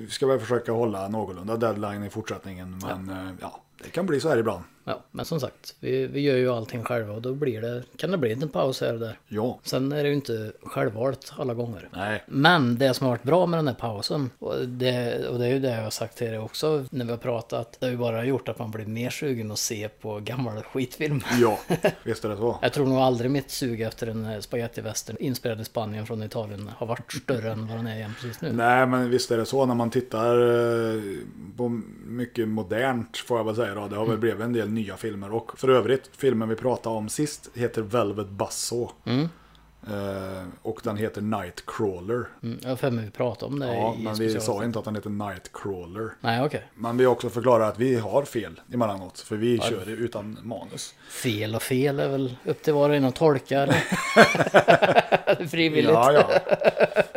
Speaker 2: eh, ska väl försöka hålla någorlunda deadline i fortsättningen. Men eh, ja, det kan bli så här ibland.
Speaker 1: Ja, men som sagt, vi, vi gör ju allting själva och då blir det, kan det bli en liten paus här och där.
Speaker 2: Ja.
Speaker 1: Sen är det ju inte självvalt alla gånger.
Speaker 2: Nej.
Speaker 1: Men det som har varit bra med den här pausen, och det, och det är ju det jag har sagt till er också när vi har pratat, det har ju bara gjort att man blir mer sugen att se på gamla skitfilmer.
Speaker 2: Ja, visst är det så.
Speaker 1: Jag tror nog aldrig mitt sug efter en eh, spaghetti western inspelad i Spanien från Italien har varit större än vad den är igen precis nu.
Speaker 2: Nej, men visst är det så när man tittar eh, på mycket modernt får jag väl säga då. Det har väl blivit en del nya filmer och för övrigt filmen vi pratade om sist heter Velvet Buzzsaw. Eh, och den heter Nightcrawler.
Speaker 1: Mm, jag har för mig vi pratade om det
Speaker 2: Ja,
Speaker 1: i
Speaker 2: men vi sa
Speaker 1: specialavsnitt.
Speaker 2: inte att den heter Nightcrawler.
Speaker 1: Nej, okej.
Speaker 2: Men vi har också förklarat att vi har fel emellanåt, för vi kör det utan manus.
Speaker 1: Fel och fel är väl upp till var och en att tolka. eller? Det är Frivilligt.
Speaker 2: Ja, ja.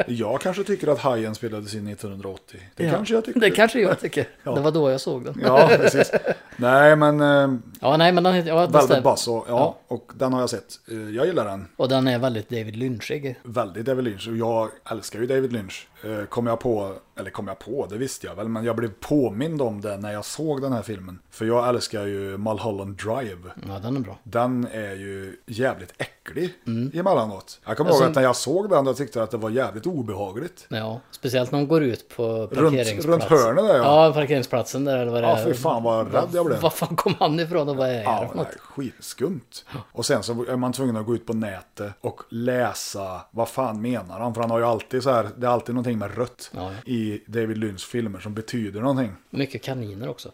Speaker 2: Jag kanske tycker att Hajen spelades in 1980. Det kanske jag tycker.
Speaker 1: Det kanske jag tycker. Det var då jag såg den. Ja,
Speaker 2: Ja, precis. Nej, men eh,
Speaker 1: nej, men den heter... Ja, det
Speaker 2: Velvet
Speaker 1: stämmer.
Speaker 2: Buzzsaw, ja, och den har jag sett. Eh, Jag gillar den
Speaker 1: Och den är väldigt David Lynchig.
Speaker 2: väldigt David Lynch och jag älskar ju David Lynch. Eh, Kom jag på, eller kom jag på, det visste jag väl, men jag blev påmind om det när jag såg den här filmen. För jag älskar ju Mulholland Drive.
Speaker 1: Ja, den är bra.
Speaker 2: Den är ju jävligt äcklig emellanåt. Jag kommer ihåg att när jag såg den, jag tyckte jag att det var jävligt obehagligt.
Speaker 1: Ja, speciellt när hon går ut på parkeringsplatsen.
Speaker 2: runt hörnet där, ja.
Speaker 1: ja. parkeringsplatsen där eller vad det
Speaker 2: Ja,
Speaker 1: är.
Speaker 2: fy fan Eh, vad rädd jag blev.
Speaker 1: Var fan kom han ifrån och vad är det här
Speaker 2: Ja,
Speaker 1: för
Speaker 2: det
Speaker 1: något?
Speaker 2: är skitskumt. Och sen så är man tvungen att gå ut på nätet och läsa vad fan menar han? För han har ju alltid så här, det är alltid någonting med rött
Speaker 1: Ja, ja.
Speaker 2: i David Lynchs filmer som betyder någonting.
Speaker 1: Mycket kaniner också.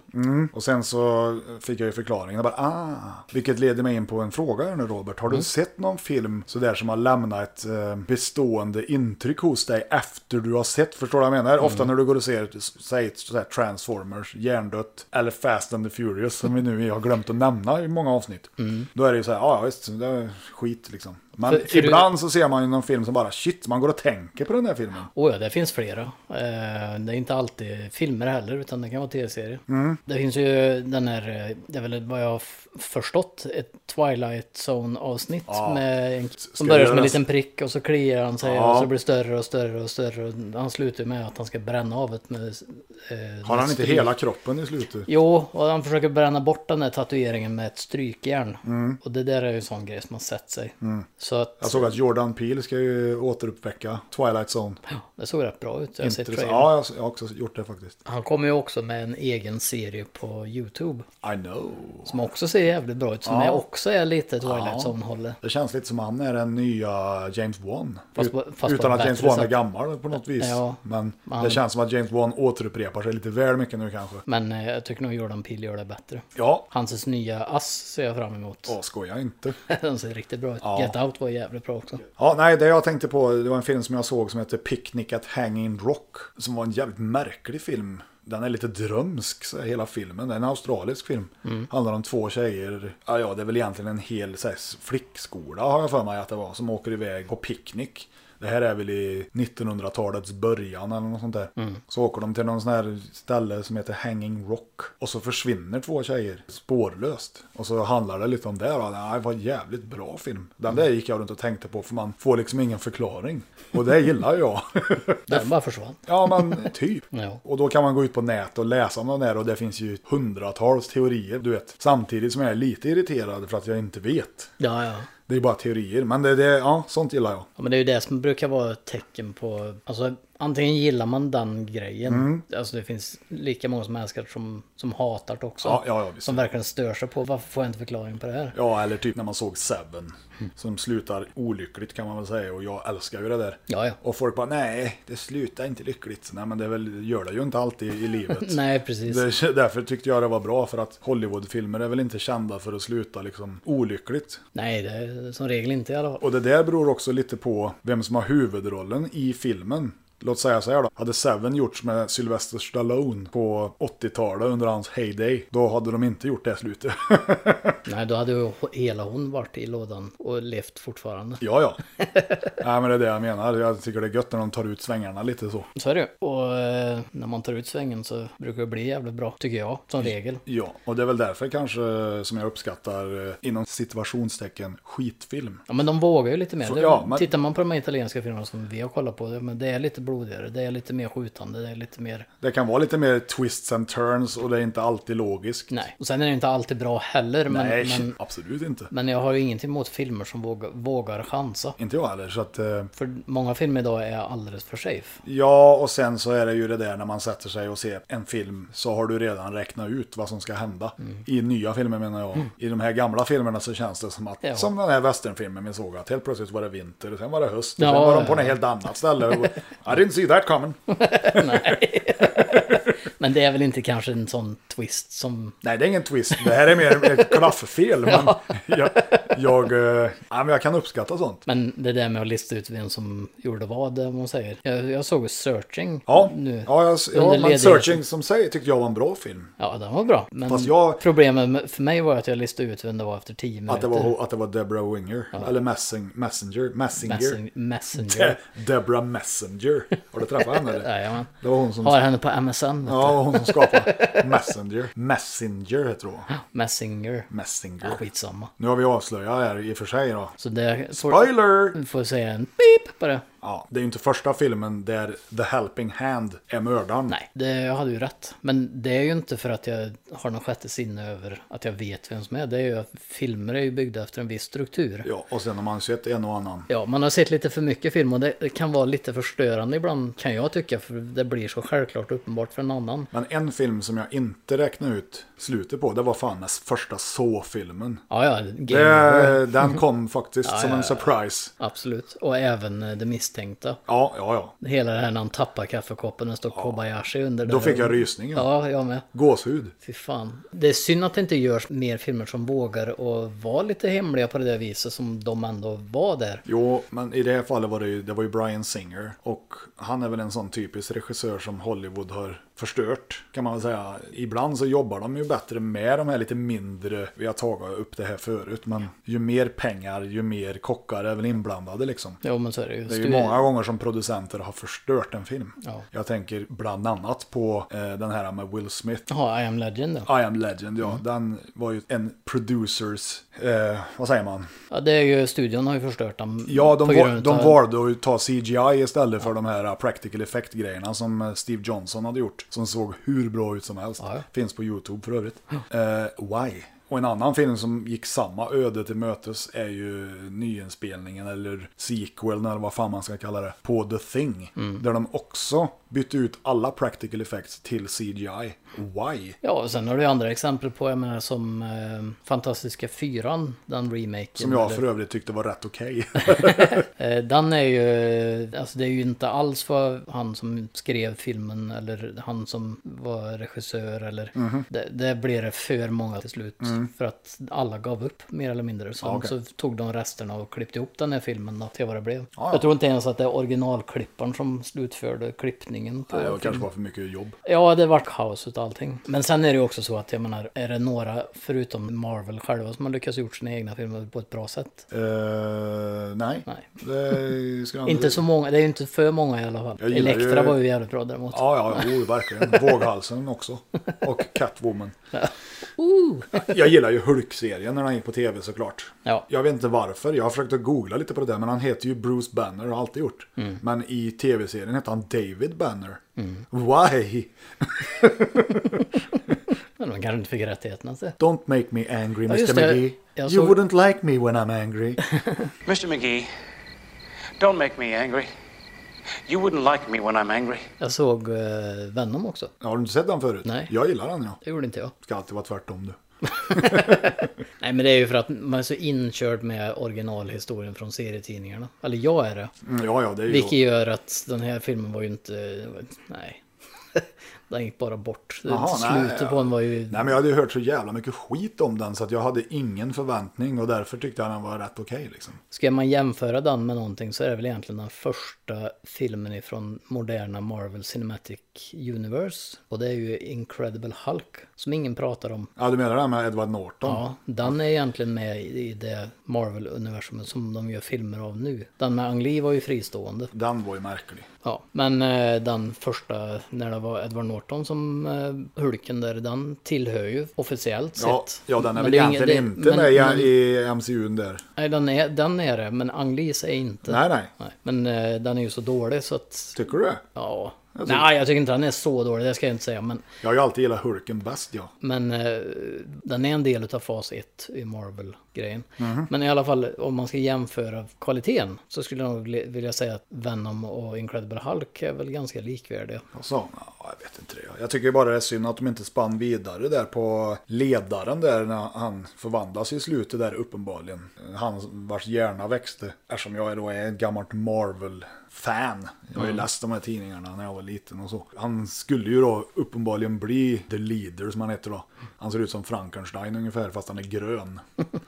Speaker 2: Och sen så fick jag ju förklaringen. Jag bara, ah, vilket leder mig in på en fråga här nu Robert.
Speaker 1: Mm.
Speaker 2: Har du sett någon film sådär som har lämnat ett eh, bestående intryck hos dig efter du har sett? Förstår du vad jag menar? Ofta
Speaker 1: Mm.
Speaker 2: när du går och ser, säg sådär Transformers, Hjärndött eller Fast and the Furious som vi nu har glömt att nämna i många avsnitt. Då är det ju så här, ja ah, visst, det är skit liksom. Men
Speaker 1: Mm. För- för du-
Speaker 2: ibland så ser man ju någon film som bara, shit, man går och tänker på den här filmen.
Speaker 1: Oh ja, det finns flera. Eh, Det är inte alltid filmer heller, utan det kan vara tv-serier.
Speaker 2: Mm.
Speaker 1: Det finns ju den här, eh, det är väl vad jag har f- förstått, ett Twilight Zone-avsnitt med en, som börjar som en
Speaker 2: göras.
Speaker 1: liten prick och så kliar han sig
Speaker 2: Ja.
Speaker 1: och så blir det större och större och större. Och Han slutar med att han ska bränna av ett med... eh,
Speaker 2: Har
Speaker 1: med
Speaker 2: han inte
Speaker 1: stryk.
Speaker 2: hela kroppen i slutet?
Speaker 1: Jo, och han försöker bränna bort den där tatueringen med ett strykjärn.
Speaker 2: Mm.
Speaker 1: Och det där är ju en sån grej som har sett sig. Så att,
Speaker 2: Jag såg att Jordan Peele ska ju återuppväcka Twilight Zone.
Speaker 1: ja, det såg rätt bra ut. Jag har sett
Speaker 2: Intressant.
Speaker 1: trailern.
Speaker 2: Ja, jag har- jag har också gjort det faktiskt.
Speaker 1: Han kommer ju också med en egen serie på YouTube.
Speaker 2: I know.
Speaker 1: Som också ser jävligt bra ut. Som
Speaker 2: Ja.
Speaker 1: är också är lite Twilight
Speaker 2: Ja.
Speaker 1: Zone-hållet.
Speaker 2: Det känns lite som han är den nya James Wan.
Speaker 1: Fast på-
Speaker 2: Ut-
Speaker 1: fast på
Speaker 2: Utan
Speaker 1: ett
Speaker 2: att James
Speaker 1: bättre
Speaker 2: Wan är
Speaker 1: sätt.
Speaker 2: gammal på något vis.
Speaker 1: Ja,
Speaker 2: men det
Speaker 1: han-
Speaker 2: känns som att James Wan återupprepar sig lite väl mycket nu kanske.
Speaker 1: Men eh, jag tycker nog Jordan Peele gör det bättre.
Speaker 2: Ja,
Speaker 1: Hans nya ass ser jag fram emot.
Speaker 2: åh, skoja inte.
Speaker 1: Den ser riktigt bra ut.
Speaker 2: Ja.
Speaker 1: Get Out var jävligt bra också.
Speaker 2: Ja, nej, det jag tänkte på, det var en film som jag såg som heter Picnic at Hanging Rock. Som var en jävligt märklig film. Den är lite drömsk, så här, hela filmen. Det är en australisk film. Handlar om två tjejer, ja, ja det är väl egentligen en hel så här, flickskola har jag för mig att det var, som åker iväg på picknick. Det här är väl i 1900-talets början eller något sånt där. Så åker de till någon sån här ställe som heter Hanging Rock. Och så försvinner två tjejer spårlöst. Och så handlar det lite om det. då. Nej, Det var en jävligt bra film. Den där gick jag runt och tänkte på för man får liksom ingen förklaring. Och det gillar jag.
Speaker 1: Den bara försvann.
Speaker 2: ja men typ.
Speaker 1: Ja.
Speaker 2: Och då kan man gå ut på nät och läsa om den där och det finns ju hundratals teorier. Du vet. Samtidigt som jag är lite irriterad för att jag inte vet.
Speaker 1: Ja, ja.
Speaker 2: Det är bara teorier. Men det, det, ja, sånt gillar jag.
Speaker 1: Ja, men det är ju det som brukar vara ett tecken på, alltså antingen gillar man den grejen,
Speaker 2: Mm.
Speaker 1: alltså det finns lika många som älskar det som, som hatar det också.
Speaker 2: Ja, ja, ja, visst.
Speaker 1: som verkligen stör sig på, varför får jag inte förklaring på det här?
Speaker 2: Ja, eller typ när man såg Seven. Som slutar olyckligt kan man väl säga. Och jag älskar ju det där.
Speaker 1: Ja, ja.
Speaker 2: Och folk bara, nej, det slutar inte lyckligt. Nej, men det är väl, gör det ju inte alltid i livet.
Speaker 1: Nej, precis.
Speaker 2: Det, därför tyckte jag det var bra, för att Hollywoodfilmer är väl inte kända för att sluta liksom olyckligt.
Speaker 1: Nej, det är som regel inte i alla fall.
Speaker 2: Och det där beror också lite på vem som har huvudrollen i filmen. Låt säga så här då, hade Seven gjorts med Sylvester Stallone på 80-talet under hans heyday, då hade de inte gjort det slutet.
Speaker 1: Nej, då hade ju hela hon varit i lådan och levt fortfarande.
Speaker 2: Ja, ja. Nej, men det är det jag menar. Jag tycker det är gött när de tar ut svängarna lite så.
Speaker 1: Så är det ju. Och eh, när man tar ut svängen så brukar det bli jävligt bra, tycker jag, som regel.
Speaker 2: Ja, och det är väl därför kanske som jag uppskattar eh, inom situationstecken skitfilm.
Speaker 1: Ja, men de vågar ju lite mer.
Speaker 2: Så-
Speaker 1: Det-
Speaker 2: ja, men-
Speaker 1: Tittar man på de här italienska filmerna som vi har kollat på, ja, men det är lite blodigare, det är lite mer skjutande, det är lite mer
Speaker 2: Det kan vara lite mer twists and turns och det är inte alltid logiskt.
Speaker 1: Nej, och sen är det inte alltid bra heller. Men,
Speaker 2: Nej,
Speaker 1: men,
Speaker 2: absolut inte.
Speaker 1: men jag har ju ingenting emot filmer som vågar, vågar chansa.
Speaker 2: Inte jag heller, så att... eh,
Speaker 1: För många filmer idag är alldeles för safe.
Speaker 2: Ja, och sen så är det ju det där när man sätter sig och ser en film så har du redan räknat ut vad som ska hända.
Speaker 1: Mm.
Speaker 2: I nya filmer menar jag. I de här gamla filmerna så känns det som att,
Speaker 1: Ja.
Speaker 2: som den här westernfilmen vi såg, att helt plötsligt var det vinter och sen var det höst och
Speaker 1: Ja,
Speaker 2: sen var
Speaker 1: ja,
Speaker 2: de på
Speaker 1: ja.
Speaker 2: något helt annat ställe. Och, I didn't see that coming.
Speaker 1: Nej. Men det är väl inte kanske en sån twist som...
Speaker 2: Nej, det är ingen twist. Det här är mer ett klafffel. Men jag, jag, eh, ja, men jag kan uppskatta sånt.
Speaker 1: Men det där med att lista ut vem som gjorde vad, om man säger. Jag, jag såg Searching
Speaker 2: Ja,
Speaker 1: nu.
Speaker 2: ja, jag, ja
Speaker 1: Under
Speaker 2: men
Speaker 1: ledigheten.
Speaker 2: Searching som säger tyckte jag var en bra film.
Speaker 1: Ja, den var bra. Men
Speaker 2: Fast jag-
Speaker 1: problemet med- för mig var att jag listade ut vem det var efter tio minuter.
Speaker 2: Att det var, att det var Deborah Winger. Eller Messing, Messenger. Messinger.
Speaker 1: Messen-
Speaker 2: De-
Speaker 1: Messenger.
Speaker 2: Deborah Messenger. Har du träffat henne eller?
Speaker 1: Jajamän.
Speaker 2: Det var hon som,
Speaker 1: Har henne på MSN. Ja.
Speaker 2: ja, hon som skapade Messenger. Messenger heter hon.
Speaker 1: Messinger.
Speaker 2: Messenger.
Speaker 1: Ja, skitsamma.
Speaker 2: Nu har vi avslöjat här i och för sig då.
Speaker 1: Så det får, Mm.
Speaker 2: Spoiler!
Speaker 1: får säga en pip på det.
Speaker 2: Ja, det är ju inte första filmen där The Helping Hand är mördaren.
Speaker 1: Nej, det, jag hade ju rätt. Men det är ju inte för att jag har någon sjätte sinne över att jag vet vem som är. Det är ju att filmer är ju byggda efter en viss struktur.
Speaker 2: Ja, och sen har man sett en och annan.
Speaker 1: Ja, man har sett lite för mycket film och det kan vara lite förstörande ibland kan jag tycka. För det blir så självklart och uppenbart för en annan.
Speaker 2: Men en film som jag inte räknade ut slutet på, det var fan den första Så-filmen.
Speaker 1: Ja, ja, game over.
Speaker 2: Det, den kom faktiskt som en surprise.
Speaker 1: Absolut. Och även eh, det misstänkta.
Speaker 2: Ja, ja, ja.
Speaker 1: Hela det här när han tappar kaffekoppen, det står Kobayashi under.
Speaker 2: Då
Speaker 1: där.
Speaker 2: fick jag rysningen.
Speaker 1: Mm. Ja, jag med.
Speaker 2: Gåshud.
Speaker 1: Fy fan. Det är synd att det inte görs mer filmer som vågar och vara lite hemliga på det där viset som de ändå var där.
Speaker 2: Jo, men i det här fallet var det ju, det var ju Brian Singer. Och han är väl en sån typisk regissör som Hollywood har förstört. Kan man väl säga. Ibland så jobbar de ju bättre med de här lite mindre. Vi har tagit upp det här förut. Men ju mer pengar, ju mer kockar är väl inblandade liksom.
Speaker 1: Ja, men så är det ju.
Speaker 2: Det är ju många gånger som producenter har förstört en film. Jag tänker bland annat på eh, den här med Will Smith.
Speaker 1: Jaha, I am legend då.
Speaker 2: I am legend, ja. Den var ju en producers... Eh, vad säger man?
Speaker 1: Ja, det är ju, studion har ju förstört dem.
Speaker 2: Ja, de,
Speaker 1: på
Speaker 2: var,
Speaker 1: grund
Speaker 2: de
Speaker 1: av-
Speaker 2: valde att ta CGI istället för de här uh, practical effect-grejerna som eh, Steve Johnson hade gjort. Som såg hur bra ut som helst. Finns på YouTube för övrigt. Eh, why? Och en annan film som gick samma öde till mötes är ju nyinspelningen eller sequeln eller vad fan man ska kalla det. På The Thing.
Speaker 1: Mm.
Speaker 2: Där de också bytte ut alla practical effects till CGI. Why?
Speaker 1: Ja, och sen har du ju andra exempel på, jag menar som eh, Fantastiska Fyran, den remaken.
Speaker 2: Som jag
Speaker 1: eller-
Speaker 2: för övrigt tyckte var rätt okej.
Speaker 1: Eh, Den är ju, alltså det är ju inte alls vad han som skrev filmen eller han som var regissör eller
Speaker 2: Mhm.
Speaker 1: det, det blev det för många till slut för att alla gav upp mer eller mindre. Så,
Speaker 2: Mm. okej.
Speaker 1: så tog de resterna och klippte ihop den här filmen då, till vad det blev. Jag tror inte ens att det är originalklipparen som slutförde klippningen. På
Speaker 2: det
Speaker 1: filmen.
Speaker 2: var kanske var för mycket jobb.
Speaker 1: Ja, det vart kaos utav allting. Men sen är det ju också så att jag menar, är det några förutom Marvel själva som har lyckats gjort sina egna filmer på ett bra sätt?
Speaker 2: Eh, nej.
Speaker 1: Nej.
Speaker 2: Det skulle jag
Speaker 1: Inte så många, det är ju inte för många i alla fall.
Speaker 2: Jag gillar
Speaker 1: Elektra
Speaker 2: ju-
Speaker 1: var ju jävligt bra däremot.
Speaker 2: Ja, ja, jo, verkligen. Våghalsen också. Och Catwoman. Jag gillar ju Hulk-serien när han gick på tv såklart.
Speaker 1: Ja.
Speaker 2: Jag vet inte varför. Jag har försökt att googla lite på det där, men han heter ju Bruce Banner och har alltid gjort.
Speaker 1: Mm.
Speaker 2: Men i tv-serien heter han David Banner. Why?
Speaker 1: Men de kanske inte fick rättigheterna till det.
Speaker 2: Don't make me angry, Mr.
Speaker 1: just det.
Speaker 2: McGee.
Speaker 1: Jag
Speaker 2: You
Speaker 1: såg-
Speaker 2: wouldn't like me when I'm angry.
Speaker 4: Mr. McGee, don't make me angry. You wouldn't like me when I'm angry.
Speaker 1: Jag såg eh, Venom också.
Speaker 2: Har du inte sett den förut?
Speaker 1: Nej.
Speaker 2: Jag gillar den, ja.
Speaker 1: Det gjorde inte jag.
Speaker 2: Ska alltid vara tvärtom du.
Speaker 1: Nej men det är ju för att man är så inkörd med originalhistorien från serietidningarna. Eller jag är det.
Speaker 2: Mm, ja, ja, det är ju
Speaker 1: Vilket
Speaker 2: så.
Speaker 1: gör att den här filmen var ju inte... Nej. den gick bara bort.
Speaker 2: Jaha, nej,
Speaker 1: Slutet
Speaker 2: ja.
Speaker 1: på den var ju...
Speaker 2: Nej, men jag hade ju hört så jävla mycket skit om den så att jag hade ingen förväntning och därför tyckte jag den var rätt okej liksom.
Speaker 1: Ska man jämföra den med någonting så är det väl egentligen den första filmen ifrån moderna Marvel Cinematic Universe. Och det är ju Incredible Hulk, som ingen pratar om.
Speaker 2: Ja, du menar det här med Edward Norton?
Speaker 1: Ja, den är egentligen med i det Marvel-universum som de gör filmer av nu. Den med Ang Lee var ju fristående.
Speaker 2: Den var ju märklig.
Speaker 1: Ja, men eh, den första, när det var Edward Norton som eh, Hulken där, den tillhör ju officiellt
Speaker 2: Ja,
Speaker 1: sett.
Speaker 2: ja, den är
Speaker 1: Men
Speaker 2: väl
Speaker 1: det är ingen-
Speaker 2: egentligen
Speaker 1: det-
Speaker 2: inte
Speaker 1: men-
Speaker 2: med i-
Speaker 1: men-
Speaker 2: i MCUn där.
Speaker 1: Nej, den är, den är det, men Ang Lees är inte.
Speaker 2: Nej, nej.
Speaker 1: Nej, men eh, den är ju så dålig så att...
Speaker 2: Tycker du det?
Speaker 1: Ja.
Speaker 2: Alltså-
Speaker 1: Nej, jag tycker inte den är så dålig, det ska jag inte säga. Men,
Speaker 2: Jag har ju alltid gillat Hulken bäst, ja.
Speaker 1: men eh, den är en del av fas 1 i Marvel-grejen.
Speaker 2: Mhm.
Speaker 1: Men i alla fall, om man ska jämföra kvaliteten så skulle jag nog li- vilja säga att Venom och Incredible Hulk är väl ganska likvärdiga.
Speaker 2: Och så, ja, jag vet inte det. Jag tycker bara det är synd att de inte spann vidare där på ledaren där när han förvandlas i slutet där uppenbarligen. Han vars hjärna växte. Eftersom jag då är ett gammalt Marvel fan. Jag har ju läst de här tidningarna när jag var liten och så. Han skulle ju då uppenbarligen bli the leader som han heter då. Han ser ut som Frankenstein ungefär fast han är grön.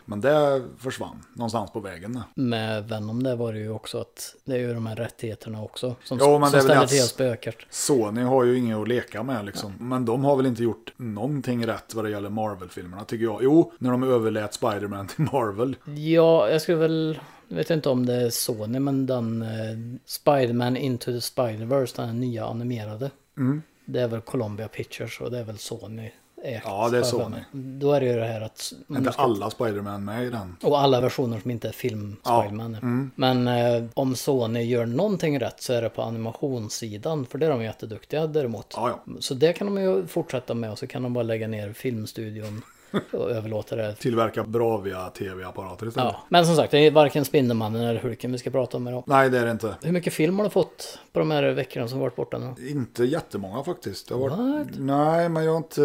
Speaker 2: Men det försvann någonstans på vägen. där.
Speaker 1: Med Venom där var det ju också att det är ju de här rättigheterna också som,
Speaker 2: Jo, men det är
Speaker 1: som
Speaker 2: väl
Speaker 1: ställer
Speaker 2: att-
Speaker 1: till spöket.
Speaker 2: Sony har ju inget att leka med liksom. Men de har väl inte gjort någonting rätt vad det gäller Marvel-filmerna tycker jag. Jo, när de överlät Spider-Man till Marvel.
Speaker 1: Mm, Ja, jag skulle väl... Jag vet inte om det är Sony, men den eh, Spider-Man Into the Spider-Verse, den här nya animerade.
Speaker 2: Mm.
Speaker 1: Det är väl Columbia Pictures och det är väl Sony. ägt,
Speaker 2: Ja, det är
Speaker 1: har jag för mig. Då är det ju det här att...
Speaker 2: Är Inte alla Spider-Man med i den.
Speaker 1: Och alla versioner som inte är film-Spiderman.
Speaker 2: Mm.
Speaker 1: Men eh, om Sony gör någonting rätt så är det på animationssidan. För det är de jätteduktiga däremot.
Speaker 2: Ja, ja.
Speaker 1: Så det kan de ju fortsätta med och så kan de bara lägga ner filmstudion och överlåta det
Speaker 2: Tillverka Bravia tv-apparater istället.
Speaker 1: Ja, men som sagt, det är varken Spindelmannen eller Hulken vi ska prata om idag.
Speaker 2: Nej, det är det inte.
Speaker 1: Hur mycket film har du fått på de här veckorna som varit borta nu?
Speaker 2: Inte jättemånga faktiskt. Det har varit... Nej, men jag har inte...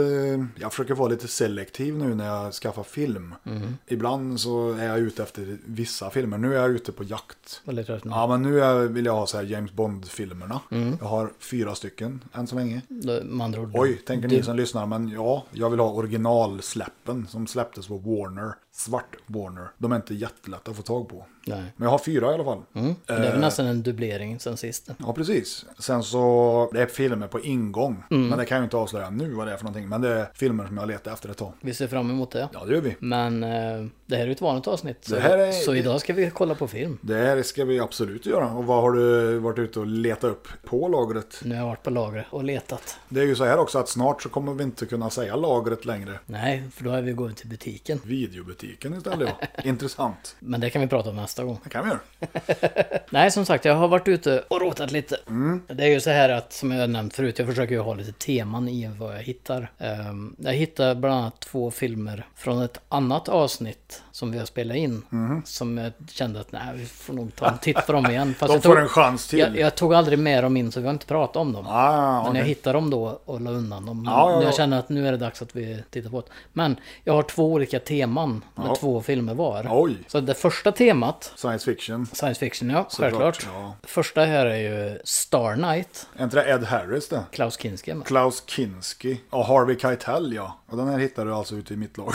Speaker 2: Jag försöker vara lite selektiv nu när jag skaffar film.
Speaker 1: Mhm.
Speaker 2: Ibland så är jag ute efter vissa filmer. Nu är jag ute på jakt.
Speaker 1: Väldigt rätt nu.
Speaker 2: Ja, men nu är- vill jag ha så här James Bond-filmerna.
Speaker 1: Mm.
Speaker 2: Jag har fyra stycken än så länge.
Speaker 1: Då- Med andra ord.
Speaker 2: Oj, tänker ni som lyssnar, men ja, jag vill ha originalsläppen som släpptes på Warner. Svart Warner. De är inte jättelätta att få tag på.
Speaker 1: Nej.
Speaker 2: Men jag har fyra i alla fall.
Speaker 1: Det
Speaker 2: Eh.
Speaker 1: är väl nästan en dubblering sen sist.
Speaker 2: Ja, precis. Sen så, det är filmer på ingång. Men det kan jag ju inte avslöja nu vad det är för någonting. Men det är filmer som jag letar efter ett tag.
Speaker 1: Vi ser fram emot det.
Speaker 2: Ja, det gör vi.
Speaker 1: Men eh, det här är ju ett vanligt avsnitt. Så,
Speaker 2: Det här är-
Speaker 1: så idag ska vi kolla på film.
Speaker 2: Det här ska vi absolut göra. Och vad har du varit ute och letat upp på lagret?
Speaker 1: Nu har jag varit på lagret och letat.
Speaker 2: Det är ju så här också att snart så kommer vi inte kunna säga lagret längre.
Speaker 1: Nej, för då är vi gått till butiken.
Speaker 2: Videobutiken istället ja. Intressant.
Speaker 1: Men det kan vi prata om nästa gång.
Speaker 2: Det kan vi göra.
Speaker 1: Nej, som sagt, jag har varit ute och rotat lite.
Speaker 2: Mm.
Speaker 1: Det är ju så här att, som jag nämnt förut, jag försöker ju ha lite teman i vad jag hittar. Ehm, Jag hittar bland annat två filmer från ett annat avsnitt som vi har spelat in.
Speaker 2: Mhm.
Speaker 1: Som jag kände att, nej, vi får nog ta en titt på dem igen. Fast
Speaker 2: De
Speaker 1: jag
Speaker 2: får en chans till.
Speaker 1: Jag, jag tog aldrig med dem in, så vi har inte pratat om dem.
Speaker 2: Ah,
Speaker 1: Men
Speaker 2: okej.
Speaker 1: jag hittade dem då och la undan dem. Men
Speaker 2: Ja, ja, ja.
Speaker 1: Jag känner att nu är det dags att vi tittar på det. Men jag har två olika teman med
Speaker 2: Ja.
Speaker 1: två filmer var.
Speaker 2: Oj.
Speaker 1: Så det första temat
Speaker 2: Science fiction.
Speaker 1: Science fiction, ja. självklart.
Speaker 2: ja.
Speaker 1: Första här är ju Star Knight,
Speaker 2: Är inte det Ed Harris det?
Speaker 1: Klaus Kinski. med.
Speaker 2: Klaus Kinski. Ja, Harvey Keitel ja. Och den här hittar du alltså ute i mitt lager.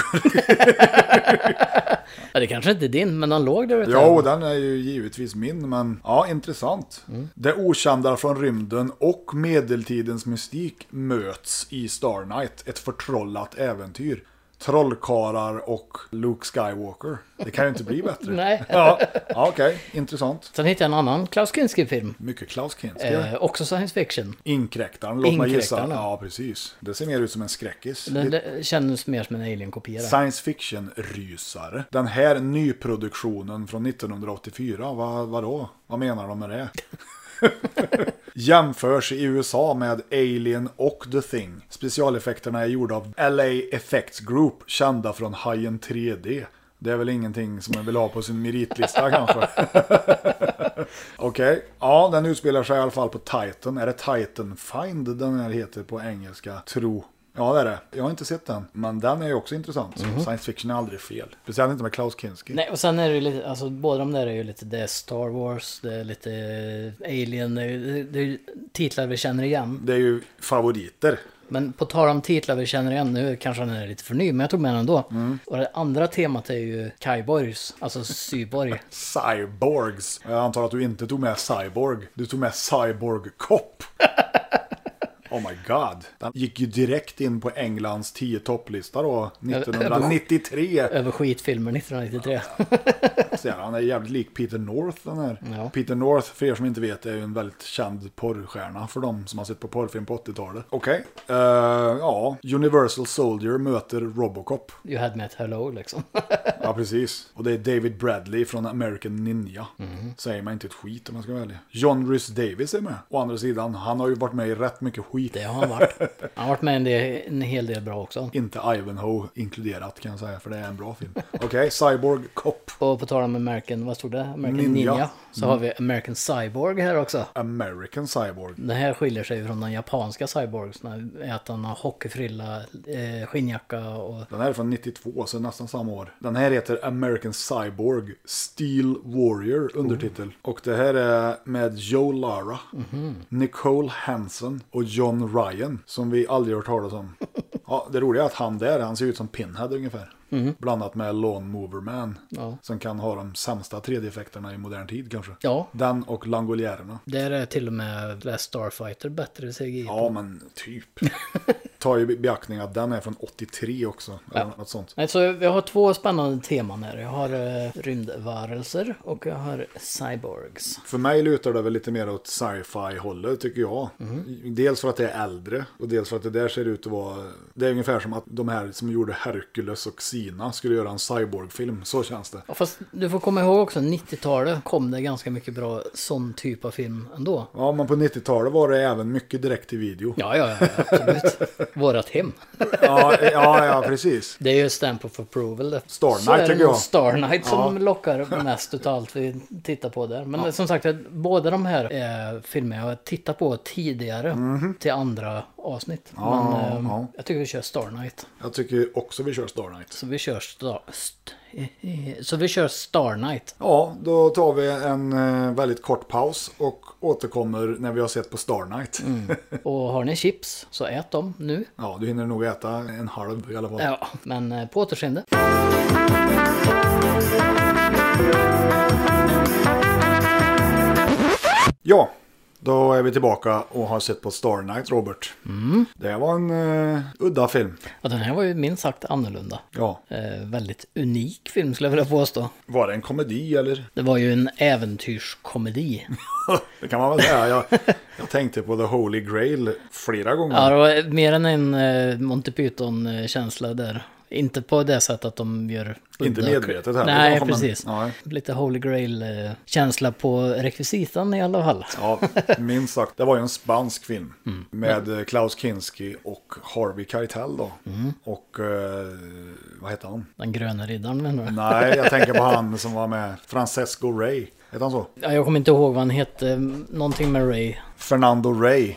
Speaker 1: Ja, det kanske inte är din, men han låg där ute.
Speaker 2: Jo, den är ju givetvis min, men ja, intressant.
Speaker 1: Mm.
Speaker 2: Det okända från rymden och medeltidens mystik möts i Star Knight, ett förtrollat äventyr. Trollkarlar och Luke Skywalker. Det kan ju inte bli bättre.
Speaker 1: Nej.
Speaker 2: Ja, ja okej, intressant.
Speaker 1: Sen hittade jag en annan Klaus Kinski-film.
Speaker 2: Mycket Klaus Kinski.
Speaker 1: Eh, också science fiction.
Speaker 2: Inkräktaren, låt mig gissa.
Speaker 1: Inkräktaren.
Speaker 2: Ja, precis. Det ser mer ut som en skräckis.
Speaker 1: Den
Speaker 2: Lite-
Speaker 1: det kändes mer som en alien-kopia. där.
Speaker 2: Science fiction-rysare. Den här nyproduktionen från 1984, vad, vadå? Vad menar de med det? Jämförs i USA med Alien och The Thing. Specialeffekterna är gjorda av LA Effects Group, kända från Hajen 3D. Det är väl ingenting som man vill ha på sin meritlista kanske. Okej, ja den utspelar sig i alla fall på Titan. Är det Titan Find den här heter på engelska, tro. Ja det är det. Jag har inte sett den, men den är ju också intressant. Science fiction är aldrig fel. Speciellt inte med Klaus Kinski.
Speaker 1: Nej, och sen är det ju lite, alltså båda de där är ju lite, det är Star Wars, det är lite eh, Alien, det är, ju- det är ju titlar vi känner igen.
Speaker 2: Det är ju favoriter.
Speaker 1: Men på tal om titlar vi känner igen, nu kanske den är lite för ny, men jag tog med den ändå.
Speaker 2: Mm.
Speaker 1: Och det andra temat är ju Kaiborgs, alltså Syborg.
Speaker 2: Cyborgs. Jag antar att du inte tog med Cyborg. Du tog med Cyborg Cop. Oh my god. Den gick ju direkt in på Englands 10 topplista då. 1993.
Speaker 1: Över skitfilmer 1993.
Speaker 2: Så här, han är jävligt lik Peter North den här.
Speaker 1: Ja.
Speaker 2: Peter North, för er som inte vet, är ju en väldigt känd porrstjärna för de som har sett på porrfilm på 80-talet. Okej. Eh, ja, Universal Soldier möter Robocop.
Speaker 1: You had me at hello liksom.
Speaker 2: Ja, precis. Och det är David Bradley från American Ninja.
Speaker 1: Mhm.
Speaker 2: Säger man inte ett skit om man ska välja. John Rhys Davis är med. Å andra sidan, han har ju varit med i rätt mycket skit.
Speaker 1: Det har han varit. Han har varit med en, del, en hel del bra också.
Speaker 2: Inte Ivanhoe inkluderat kan jag säga, för det är en bra film. Okej, Cyborg Cop.
Speaker 1: Och på tal om tal om American, vad stod det? American
Speaker 2: Ninja.
Speaker 1: Ninja. Mm. Så har vi American Cyborg här också.
Speaker 2: American Cyborg.
Speaker 1: Det här skiljer sig från de japanska cyborgsna. är Att han har hockeyfrilla, eh, skinnjacka och...
Speaker 2: Den här är från 92, så nästan samma år. Den här heter American Cyborg Steel Warrior undertitel. Och det här är med Joe Lara, Nicole Hansen och John Ryan, som vi aldrig hört talas om. Ja, det roliga är att han där, han ser ut som Pinhead ungefär. Blandat med Lawn Mover Man, som kan ha de sämsta 3D-effekterna i modern tid kanske.
Speaker 1: Ja.
Speaker 2: Den och Langoliererna.
Speaker 1: Där är till och med Last Starfighter bättre CGI.
Speaker 2: Ja, men typ. Ta i beaktning att den är från 83 också, eller något sånt.
Speaker 1: Nej, så jag har två spännande teman här. Jag har eh, rymdvarelser och jag har cyborgs.
Speaker 2: För mig lutar det väl lite mer åt sci-fi hållet tycker jag. Dels för att det är äldre och dels för att det där ser ut att vara... Det är ungefär som att de här som gjorde Hercules och Sina skulle göra en cyborgfilm. Så känns det.
Speaker 1: Ja, Fast du får komma ihåg också, 90-talet kom det ganska mycket bra sån typ av film ändå.
Speaker 2: Ja, men på 90-talet var det även mycket direkt till video.
Speaker 1: Ja, ja, ja, absolut. Vårat hem.
Speaker 2: ja, ja, ja, precis.
Speaker 1: Det är ju Stamp of Approval det.
Speaker 2: Star
Speaker 1: Så är
Speaker 2: Knight,
Speaker 1: det
Speaker 2: tycker
Speaker 1: nog
Speaker 2: jag.
Speaker 1: Star Knight som
Speaker 2: Ja.
Speaker 1: lockar mest utav allt vi tittar på där. Men som sagt, båda de här är filmer jag har tittat på tidigare till andra avsnitt. Men
Speaker 2: Mhm. ja,
Speaker 1: ehm,
Speaker 2: ja.
Speaker 1: jag tycker vi kör Star Knight.
Speaker 2: Jag tycker också vi kör Star Knight.
Speaker 1: Så vi kör Star... St- så vi kör Star Knight.
Speaker 2: Ja, då tar vi en eh, väldigt kort paus och återkommer när vi har sett på Star Knight.
Speaker 1: Och har ni chips så ät dem nu.
Speaker 2: Ja, du hinner nog äta en halv i alla fall.
Speaker 1: Ja, men eh, på återseende.
Speaker 2: Ja, då är vi tillbaka och har sett på Star Knight, Robert. Det var en eh, udda film.
Speaker 1: Ja, den här var ju minst sagt annorlunda.
Speaker 2: Ja.
Speaker 1: Eh, väldigt unik film skulle jag vilja påstå.
Speaker 2: Var det en komedi eller?
Speaker 1: Det var ju en äventyrskomedi.
Speaker 2: Det kan man väl säga. Jag, jag tänkte på The Holy Grail flera gånger.
Speaker 1: Ja, det var mer än en eh, Monty Python-känsla där. Inte på det sättet att de gör...
Speaker 2: Inte medvetet heller,
Speaker 1: Nej,
Speaker 2: kanske, men-
Speaker 1: precis.
Speaker 2: nej.
Speaker 1: Lite Holy Grail-känsla på rekvisitan i alla fall.
Speaker 2: Ja, minst sagt. Det var ju en spansk film med eh, Klaus Kinski och Harvey Keitel då. Och eh, vad heter han?
Speaker 1: Den gröna riddaren menar du?
Speaker 2: Nej, jag tänker på han som var med. Francesco Ray. Heter han så?
Speaker 1: Ja, jag kommer inte ihåg vad han hette. Någonting med Ray.
Speaker 2: Fernando Ray.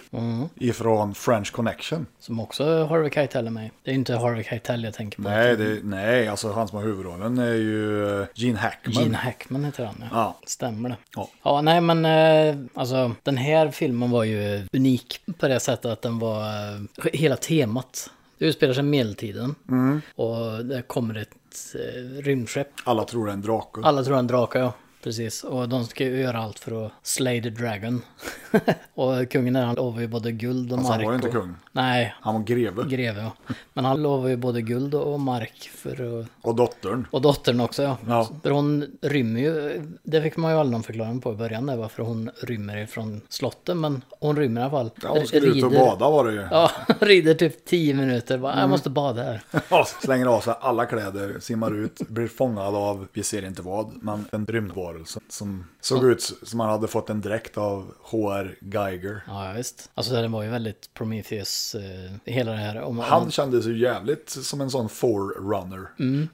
Speaker 2: Ifrån French Connection.
Speaker 1: Som också Harvey Keitel är med i. Det är ju inte Harvey Keitel jag tänker på.
Speaker 2: Nej, det, nej, alltså han som har huvudrollen är ju eh, Gene Hackman.
Speaker 1: Gene Hackman heter han
Speaker 2: Ja.
Speaker 1: Stämmer det?
Speaker 2: Ja.
Speaker 1: nej men eh, alltså den här filmen var ju unik på det sättet att den var eh, hela temat. Det utspelar sig i medeltiden
Speaker 2: Mm.
Speaker 1: och där kommer ett eh, rymdskepp.
Speaker 2: Alla tror det är en drake.
Speaker 1: Alla tror han drakar ja. Precis, och de ska ju göra allt för att slay the dragon. och kungen där han lovar ju både guld och
Speaker 2: Fast
Speaker 1: mark.
Speaker 2: Alltså, han var ju inte
Speaker 1: och...
Speaker 2: kung.
Speaker 1: Nej,
Speaker 2: Han var greve.
Speaker 1: greve ja. Men han lovar ju både guld och mark för att
Speaker 2: och dottern.
Speaker 1: och dottern också ja.
Speaker 2: Ja.
Speaker 1: För hon rymmer ju, det fick man ju aldrig någon förklaring på i början där varför hon rymmer ifrån slotten. Men hon rymmer i alla fall.
Speaker 2: Ja, hon skulle ut och bada Mm. var det ju.
Speaker 1: Ja, rider typ 10 minuter. Bara, Jag måste bada här.
Speaker 2: Ja. Slänger av sig alla kläder, simmar ut, blir fångad av, vi ser inte vad, men en rymdvarelse som såg ut som han hade fått en dräkt av H.R. Geiger.
Speaker 1: Ja, ja, visst. Alltså den var ju väldigt Prometheus, eh, hela det här. Om,
Speaker 2: Han kändes ju jävligt som en sån forerunner.
Speaker 1: Mm.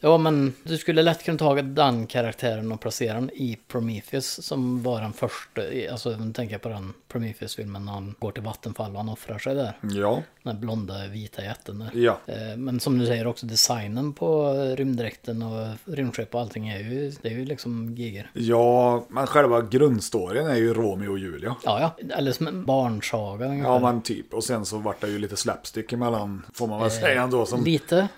Speaker 1: Ja, men du skulle lätt kunna ta den karaktären och placera den i Prometheus som var den första. i- Alltså, nu tänker jag på den Prometheus-filmen när han går till Vattenfall och han offrar sig där.
Speaker 2: Ja,
Speaker 1: Den här blonda vita jätten där.
Speaker 2: Ja.
Speaker 1: Eh, Men som du säger också designen på rymddräkten och rymdskepp och allting är ju, det är ju liksom giger.
Speaker 2: ja, men själva grundstoryn är ju Romeo och Julia.
Speaker 1: Ja, ja. Eller som en barnsaga ungefär.
Speaker 2: Ja, men typ. Och sen så vart det ju lite slapstick emellan, får man väl säga ändå. Som...
Speaker 1: Eh, Lite.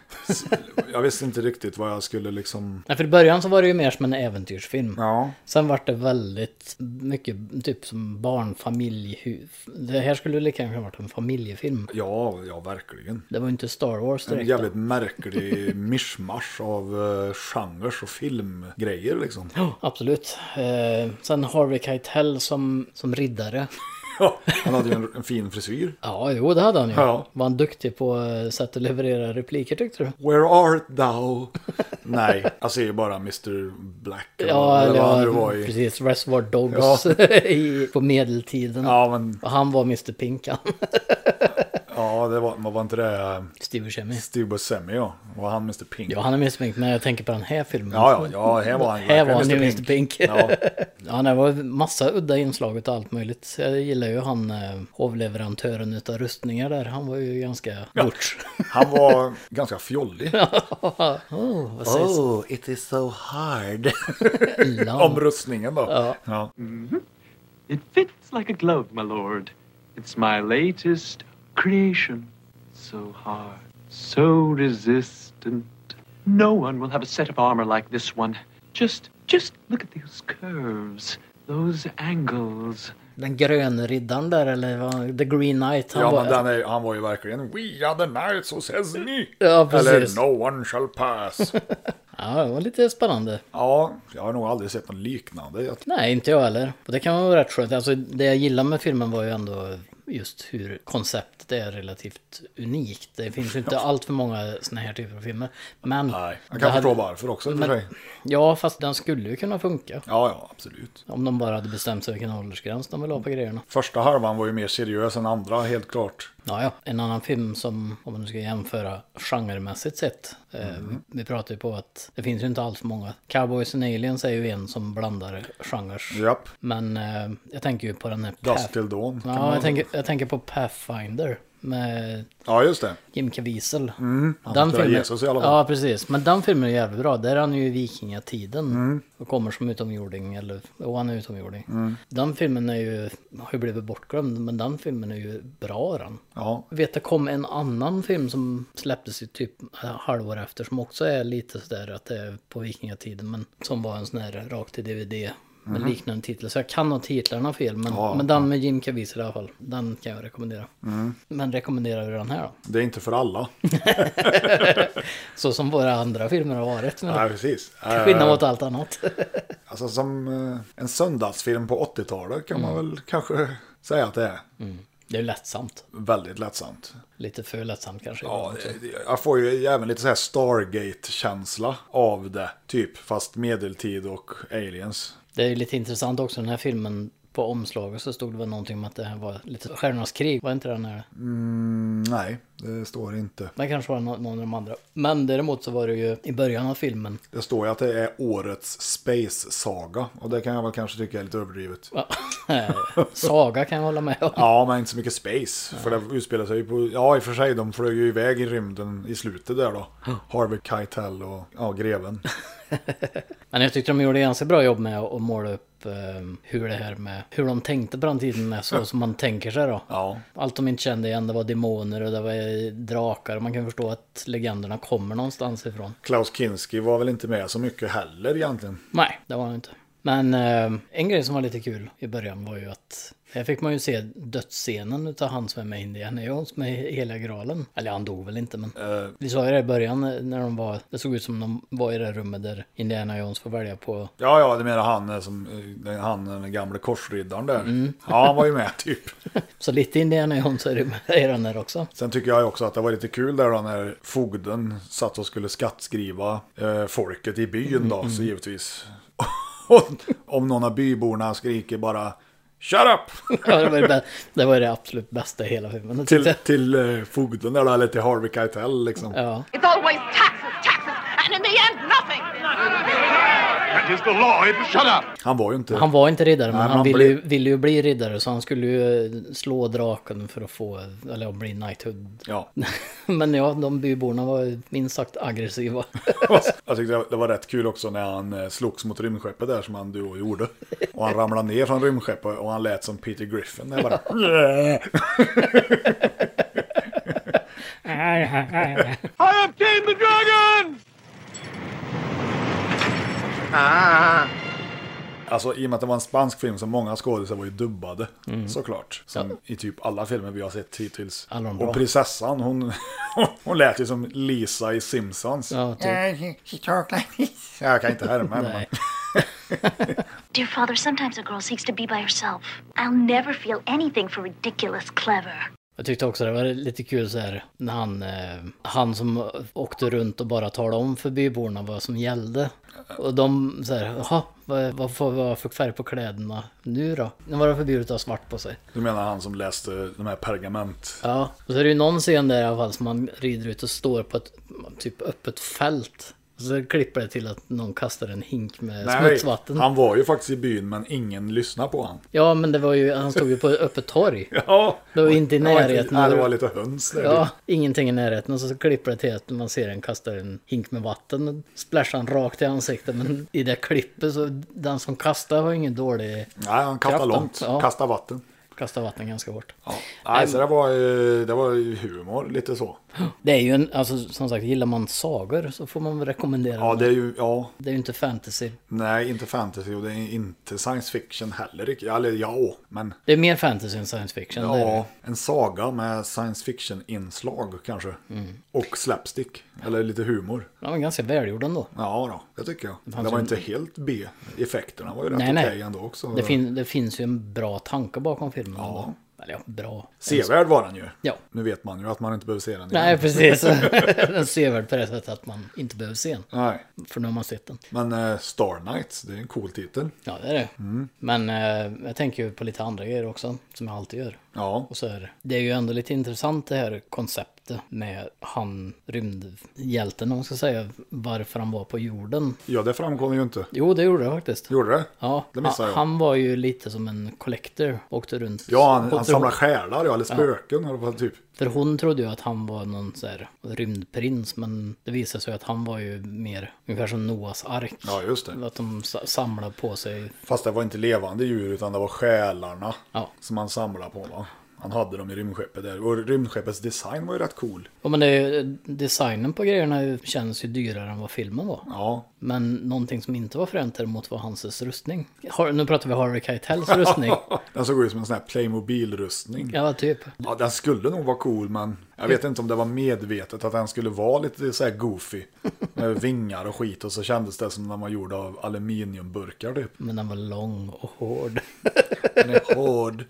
Speaker 2: Jag visste inte riktigt vad jag skulle liksom...
Speaker 1: Nej, för i början så var det ju mer som en äventyrsfilm.
Speaker 2: Ja.
Speaker 1: Sen vart det väldigt mycket typ som barnfamilj. Det här skulle lika gärna varit en familjefilm.
Speaker 2: Ja, ja verkligen.
Speaker 1: Det var ju inte Star Wars
Speaker 2: En
Speaker 1: direkt. då.
Speaker 2: jävligt märklig mischmasch av uh, genrer och filmgrejer liksom.
Speaker 1: Ja, Absolut. Eh, sen Harvey Keitel som, som riddare.
Speaker 2: Han hade ju en, en fin frisyr.
Speaker 1: Ja, jo det hade han ju.
Speaker 2: Ja.
Speaker 1: Var han duktig på eh, sätt att leverera repliker tyckte du?
Speaker 2: Where art thou? Nej, jag ser ju bara Mr Black. eller
Speaker 1: Ja,
Speaker 2: vad-
Speaker 1: eller
Speaker 2: eller vad han
Speaker 1: ja,
Speaker 2: nu var i.
Speaker 1: precis. Reservoir Dogs i, på medeltiden.
Speaker 2: Ja, men
Speaker 1: Och han var Mr Pink han.
Speaker 2: Ja, det var, vad var inte det
Speaker 1: Steve Buscemi.
Speaker 2: Steve Buscemi ja. Var han Mr Pink?
Speaker 1: Ja, han är Mr Pink, men jag tänker på den här filmen.
Speaker 2: ja, ja, ja, här var han
Speaker 1: Här var han ju
Speaker 2: verkligen
Speaker 1: Mr Pink.
Speaker 2: Ja.
Speaker 1: Ja, det var massa udda inslag och allt möjligt. Jag gillar ju han eh, hovleverantören utav rustningar där. Han var ju ganska bort.
Speaker 2: Han var ganska fjollig.
Speaker 1: oh, vad sägs?
Speaker 2: it is so hard.
Speaker 1: Love.
Speaker 2: Om rustningen då. Ja.
Speaker 5: It fits like a glove, my lord. It's my latest creation. So hard, so resistant. No one will have a set of armor like this one. Just, just look at those curves, those angles.
Speaker 1: Den gröna riddaren där, eller vad? The Green Knight. Han
Speaker 2: Ja,
Speaker 1: var...
Speaker 2: men den är, han var ju verkligen We are the knights who says me.
Speaker 1: Ja, precis.
Speaker 2: Eller No one shall pass.
Speaker 1: Ja, det var lite spännande.
Speaker 2: ja, jag har nog aldrig sett något liknande. Jag-
Speaker 1: Nej, inte jag heller. Och det kan vara rätt skönt. Alltså, det jag gillar med filmen var ju ändå just hur konceptet är relativt unikt. Det finns ju inte allt för många såna här typer av filmer. Men...
Speaker 2: Nej, jag
Speaker 1: det
Speaker 2: kan
Speaker 1: hade-
Speaker 2: förstå varför också i och för sig.
Speaker 1: Ja, fast den skulle ju kunna funka.
Speaker 2: Ja, ja, absolut.
Speaker 1: Om de bara hade bestämt sig vilken åldersgräns de vill ha på grejerna.
Speaker 2: Första halvan var ju mer seriös än andra, helt klart.
Speaker 1: Ja, ja. En annan film som, om man nu ska jämföra genremässigt sett. Eh, vi,
Speaker 2: Mm.
Speaker 1: vi pratar ju på att det finns ju inte alls många. Cowboys and Aliens är ju en som blandar genrer.
Speaker 2: Japp.
Speaker 1: Men eh, jag tänker ju på den här...
Speaker 2: Dusk
Speaker 1: Path-
Speaker 2: till Dawn. kan
Speaker 1: Ja,
Speaker 2: man-
Speaker 1: jag tänker, jag tänker på Pathfinder med
Speaker 2: ja, just det.
Speaker 1: Jim Caviezel.
Speaker 2: Han spelar Mm. Jesus i alla fall.
Speaker 1: Ja, precis. Men den filmen är jävligt bra. Där är han ju i vikingatiden
Speaker 2: Mm.
Speaker 1: och kommer som utomjording. Eller, och han är utomjording. Den filmen är ju, har ju blivit bortglömd, men den filmen är ju bra den.
Speaker 2: Ja,
Speaker 1: Jag vet, det kom en annan film som släpptes ju typ eh, halvår efter som också är lite sådär att det är på vikingatiden men som var en sån här rakt till DVD med liknande titel. Så jag kan ha titlarna fel men, men den med Jim Caviezel i alla fall, den kan jag rekommendera. Men rekommenderar vi den här då?
Speaker 2: det är inte för alla.
Speaker 1: Så som våra andra filmer har varit.
Speaker 2: Nej,
Speaker 1: Men
Speaker 2: precis.
Speaker 1: skillnad mot allt annat.
Speaker 2: Alltså som eh, en söndagsfilm på 80-talet kan man väl kanske säga att det är.
Speaker 1: Det är ju lättsamt.
Speaker 2: Väldigt lättsamt.
Speaker 1: Lite för lättsamt kanske.
Speaker 2: Ja, jag får ju även lite så här Stargate-känsla av det. Typ, fast medeltid och aliens.
Speaker 1: Det är ju lite intressant också den här filmen. På omslaget så stod det väl någonting om att det här var lite Stjärnornas krig. Var inte den här?
Speaker 2: Nej, det står inte.
Speaker 1: Det kanske var nå- någon av de andra. Men däremot så var det ju i början av filmen.
Speaker 2: Det står ju att det är årets space-saga. Och det kan jag väl kanske tycka är lite överdrivet.
Speaker 1: Ja, Eh, Saga kan jag hålla med om.
Speaker 2: Ja, men inte så mycket space. För det utspelar sig ju på... Ja, i och för sig, de flög ju iväg i rymden i slutet där då. Harvey Keitel och ja, greven.
Speaker 1: Men jag tyckte de gjorde ganska bra jobb med att måla upp eh, hur det här med hur de tänkte på den tiden är så som man tänker sig då.
Speaker 2: Ja.
Speaker 1: Allt de inte kände igen det var demoner och det var eh, drakar. Man kan förstå att legenderna kommer någonstans ifrån.
Speaker 2: Klaus Kinski var väl inte med så mycket heller egentligen.
Speaker 1: Nej, det var det inte. Men eh, en grej som var lite kul i början var ju att här fick man ju se dödsscenen utav han som är med i Indiana Jones med hela graalen. Eller han dog väl inte men. Vi sa ju det i början eh, när de var, det såg ut som de var i det rummet där Indiana Jones får välja på.
Speaker 2: Ja, ja, det menar han eh, som eh, den- han den gamle korsriddaren där. Ja, han var ju med typ.
Speaker 1: Så lite Indiana Jones är det med i den här också.
Speaker 2: Sen tycker jag också att det var lite kul där då när fogden satt och skulle skattskriva eh, folket i byn då, så givetvis. Och Om någon av byborna skriker bara Shut up!
Speaker 1: Ja, det, var det, bä- det var det absolut bästa i hela filmen. det tyckte
Speaker 2: Till,
Speaker 1: jag.
Speaker 2: till eh, fogden där då, eller till Harvey Keitel liksom.
Speaker 1: Ja,
Speaker 6: It's always taxes, taxes, and in the end, nothing.
Speaker 3: That is the law. It shut up.
Speaker 2: Han var ju inte...
Speaker 1: han var inte riddare men
Speaker 2: Nej, men
Speaker 1: han
Speaker 2: han
Speaker 1: ville
Speaker 2: blev-
Speaker 1: ju, ville ju bli riddare så han skulle ju eh, slå draken för att få, eller att bli knighthood
Speaker 2: Ja.
Speaker 1: Men ja, de byborna var minst sagt aggressiva.
Speaker 2: Jag tyckte det var rätt kul också när han eh, slogs mot rymdskeppet där som han då gjorde. Och han ramlade ner från rymdskeppet och han lät som Peter Griffin. Jag bara,
Speaker 5: I obtained the dragon!
Speaker 2: Ah. Alltså i och med att det var en spansk film så många skådisar var ju dubbade. Såklart. Som i typ alla filmer vi har sett hittills.
Speaker 1: Alla Mm. de bra.
Speaker 2: och prinsessan hon, hon lät ju som Lisa i Simpsons.
Speaker 1: Ja, typ.
Speaker 2: Jag kan inte härma henne. men-
Speaker 7: Dear father, sometimes a girl seeks to be by herself. I'll never feel anything for ridiculous clever.
Speaker 1: Jag tyckte också det var lite kul så här när han, eh, han som åkte runt och bara talade om för byborna vad som gällde. Och de så här, jaha, vad, vad får vad för färg på kläderna nu då? Nu var det förbjudet att ha svart på sig.
Speaker 2: Du menar han som läste de här pergament?
Speaker 1: Ja, och så är det ju någon scen där i alla fall som man rider ut och står på ett typ öppet fält. Och så klipper det till att någon kastar en hink med smutsvatten.
Speaker 2: han var ju faktiskt i byn men ingen lyssnade på han.
Speaker 1: Ja, men det var ju, han stod ju på ett öppet torg.
Speaker 2: Ja,
Speaker 1: Det var inte i
Speaker 2: det var inte-
Speaker 1: närheten.
Speaker 2: Nej, det var lite höns där.
Speaker 1: Ja, ingenting i närheten. Och så klipper det till att man ser en kasta en hink med vatten. och Splashar han rakt i ansiktet. Men i det klippet så den som kastar har ingen dålig...
Speaker 2: Nej, han kastade
Speaker 1: Kraften,
Speaker 2: långt.
Speaker 1: ja.
Speaker 2: Kastade vatten.
Speaker 1: Kastar vatten ganska hårt.
Speaker 2: Ja. Nej, så det var, ju- det var ju humor, lite så.
Speaker 1: Det är ju en, alltså som sagt, gillar man sagor så får man väl rekommendera
Speaker 2: Ja,
Speaker 1: det.
Speaker 2: det är ju, ja.
Speaker 1: Det är ju inte fantasy.
Speaker 2: Nej, inte fantasy och det är inte science fiction heller. riktigt. Eller ja, men
Speaker 1: Det är mer fantasy än science fiction. det är det.
Speaker 2: ja, en saga med science fiction-inslag kanske.
Speaker 1: Mm.
Speaker 2: Och slapstick, eller lite humor.
Speaker 1: Den var ganska välgjord ändå.
Speaker 2: Ja, då, det tycker jag. Det,
Speaker 1: fanns
Speaker 2: var
Speaker 1: ju-
Speaker 2: inte helt B. Effekterna var ju rätt
Speaker 1: Nej,
Speaker 2: okej
Speaker 1: nej.
Speaker 2: ändå också.
Speaker 1: Det, fin, det finns ju en bra tanke bakom filmen. ändå. Eller ja, bra.
Speaker 2: Sevärd var den ju.
Speaker 1: Ja.
Speaker 2: Nu vet man ju att man inte behöver se den igen.
Speaker 1: Nej, precis. den ser väl på det sättet att man inte behöver se den.
Speaker 2: Nej.
Speaker 1: För nu har man sett den.
Speaker 2: Men eh, Star Knights, det är en cool titel.
Speaker 1: Ja, det är det.
Speaker 2: Mm.
Speaker 1: Men eh, jag tänker ju på lite andra grejer också, som jag alltid gör.
Speaker 2: Ja,
Speaker 1: Och så är det. det är ju ändå lite intressant det här konceptet med han rymdhjälten, om man ska säga, varför han var på jorden.
Speaker 2: ja det framkom ju inte.
Speaker 1: Jo, det gjorde det faktiskt.
Speaker 2: Gjorde det?
Speaker 1: Ja,
Speaker 2: det missade jag.
Speaker 1: han var ju lite som en collector, åkte runt.
Speaker 2: Ja, han,
Speaker 1: Och
Speaker 2: han
Speaker 1: tro-
Speaker 2: samlar själar, ja, eller spöken. Eller vad, typ.
Speaker 1: För hon trodde ju att han var någon så här rymdprins, men det visade sig att han var ju mer ungefär som Noas ark.
Speaker 2: Ja, just det.
Speaker 1: Att de sa- samlade på sig
Speaker 2: Fast det var inte levande djur, utan det var själarna
Speaker 1: Ja.
Speaker 2: som han samlade på. Va? Han hade dem i rymdskeppet där. Och rymdskeppets design var ju rätt cool.
Speaker 1: Ja men det, är ju- designen på grejerna känns ju dyrare än vad filmen var.
Speaker 2: Ja,
Speaker 1: Men någonting som inte var fränt däremot var hans rustning. Har, nu pratar vi Harvey Keitels rustning.
Speaker 2: den såg ut som en sån här Playmobil-rustning.
Speaker 1: ja, typ.
Speaker 2: Ja, den skulle nog vara cool, men jag vet inte om det var medvetet att den skulle vara lite så här goofy. Med vingar och skit och så kändes det som den var gjord av aluminiumburkar typ.
Speaker 1: Men den var lång och hård.
Speaker 2: Den är hård.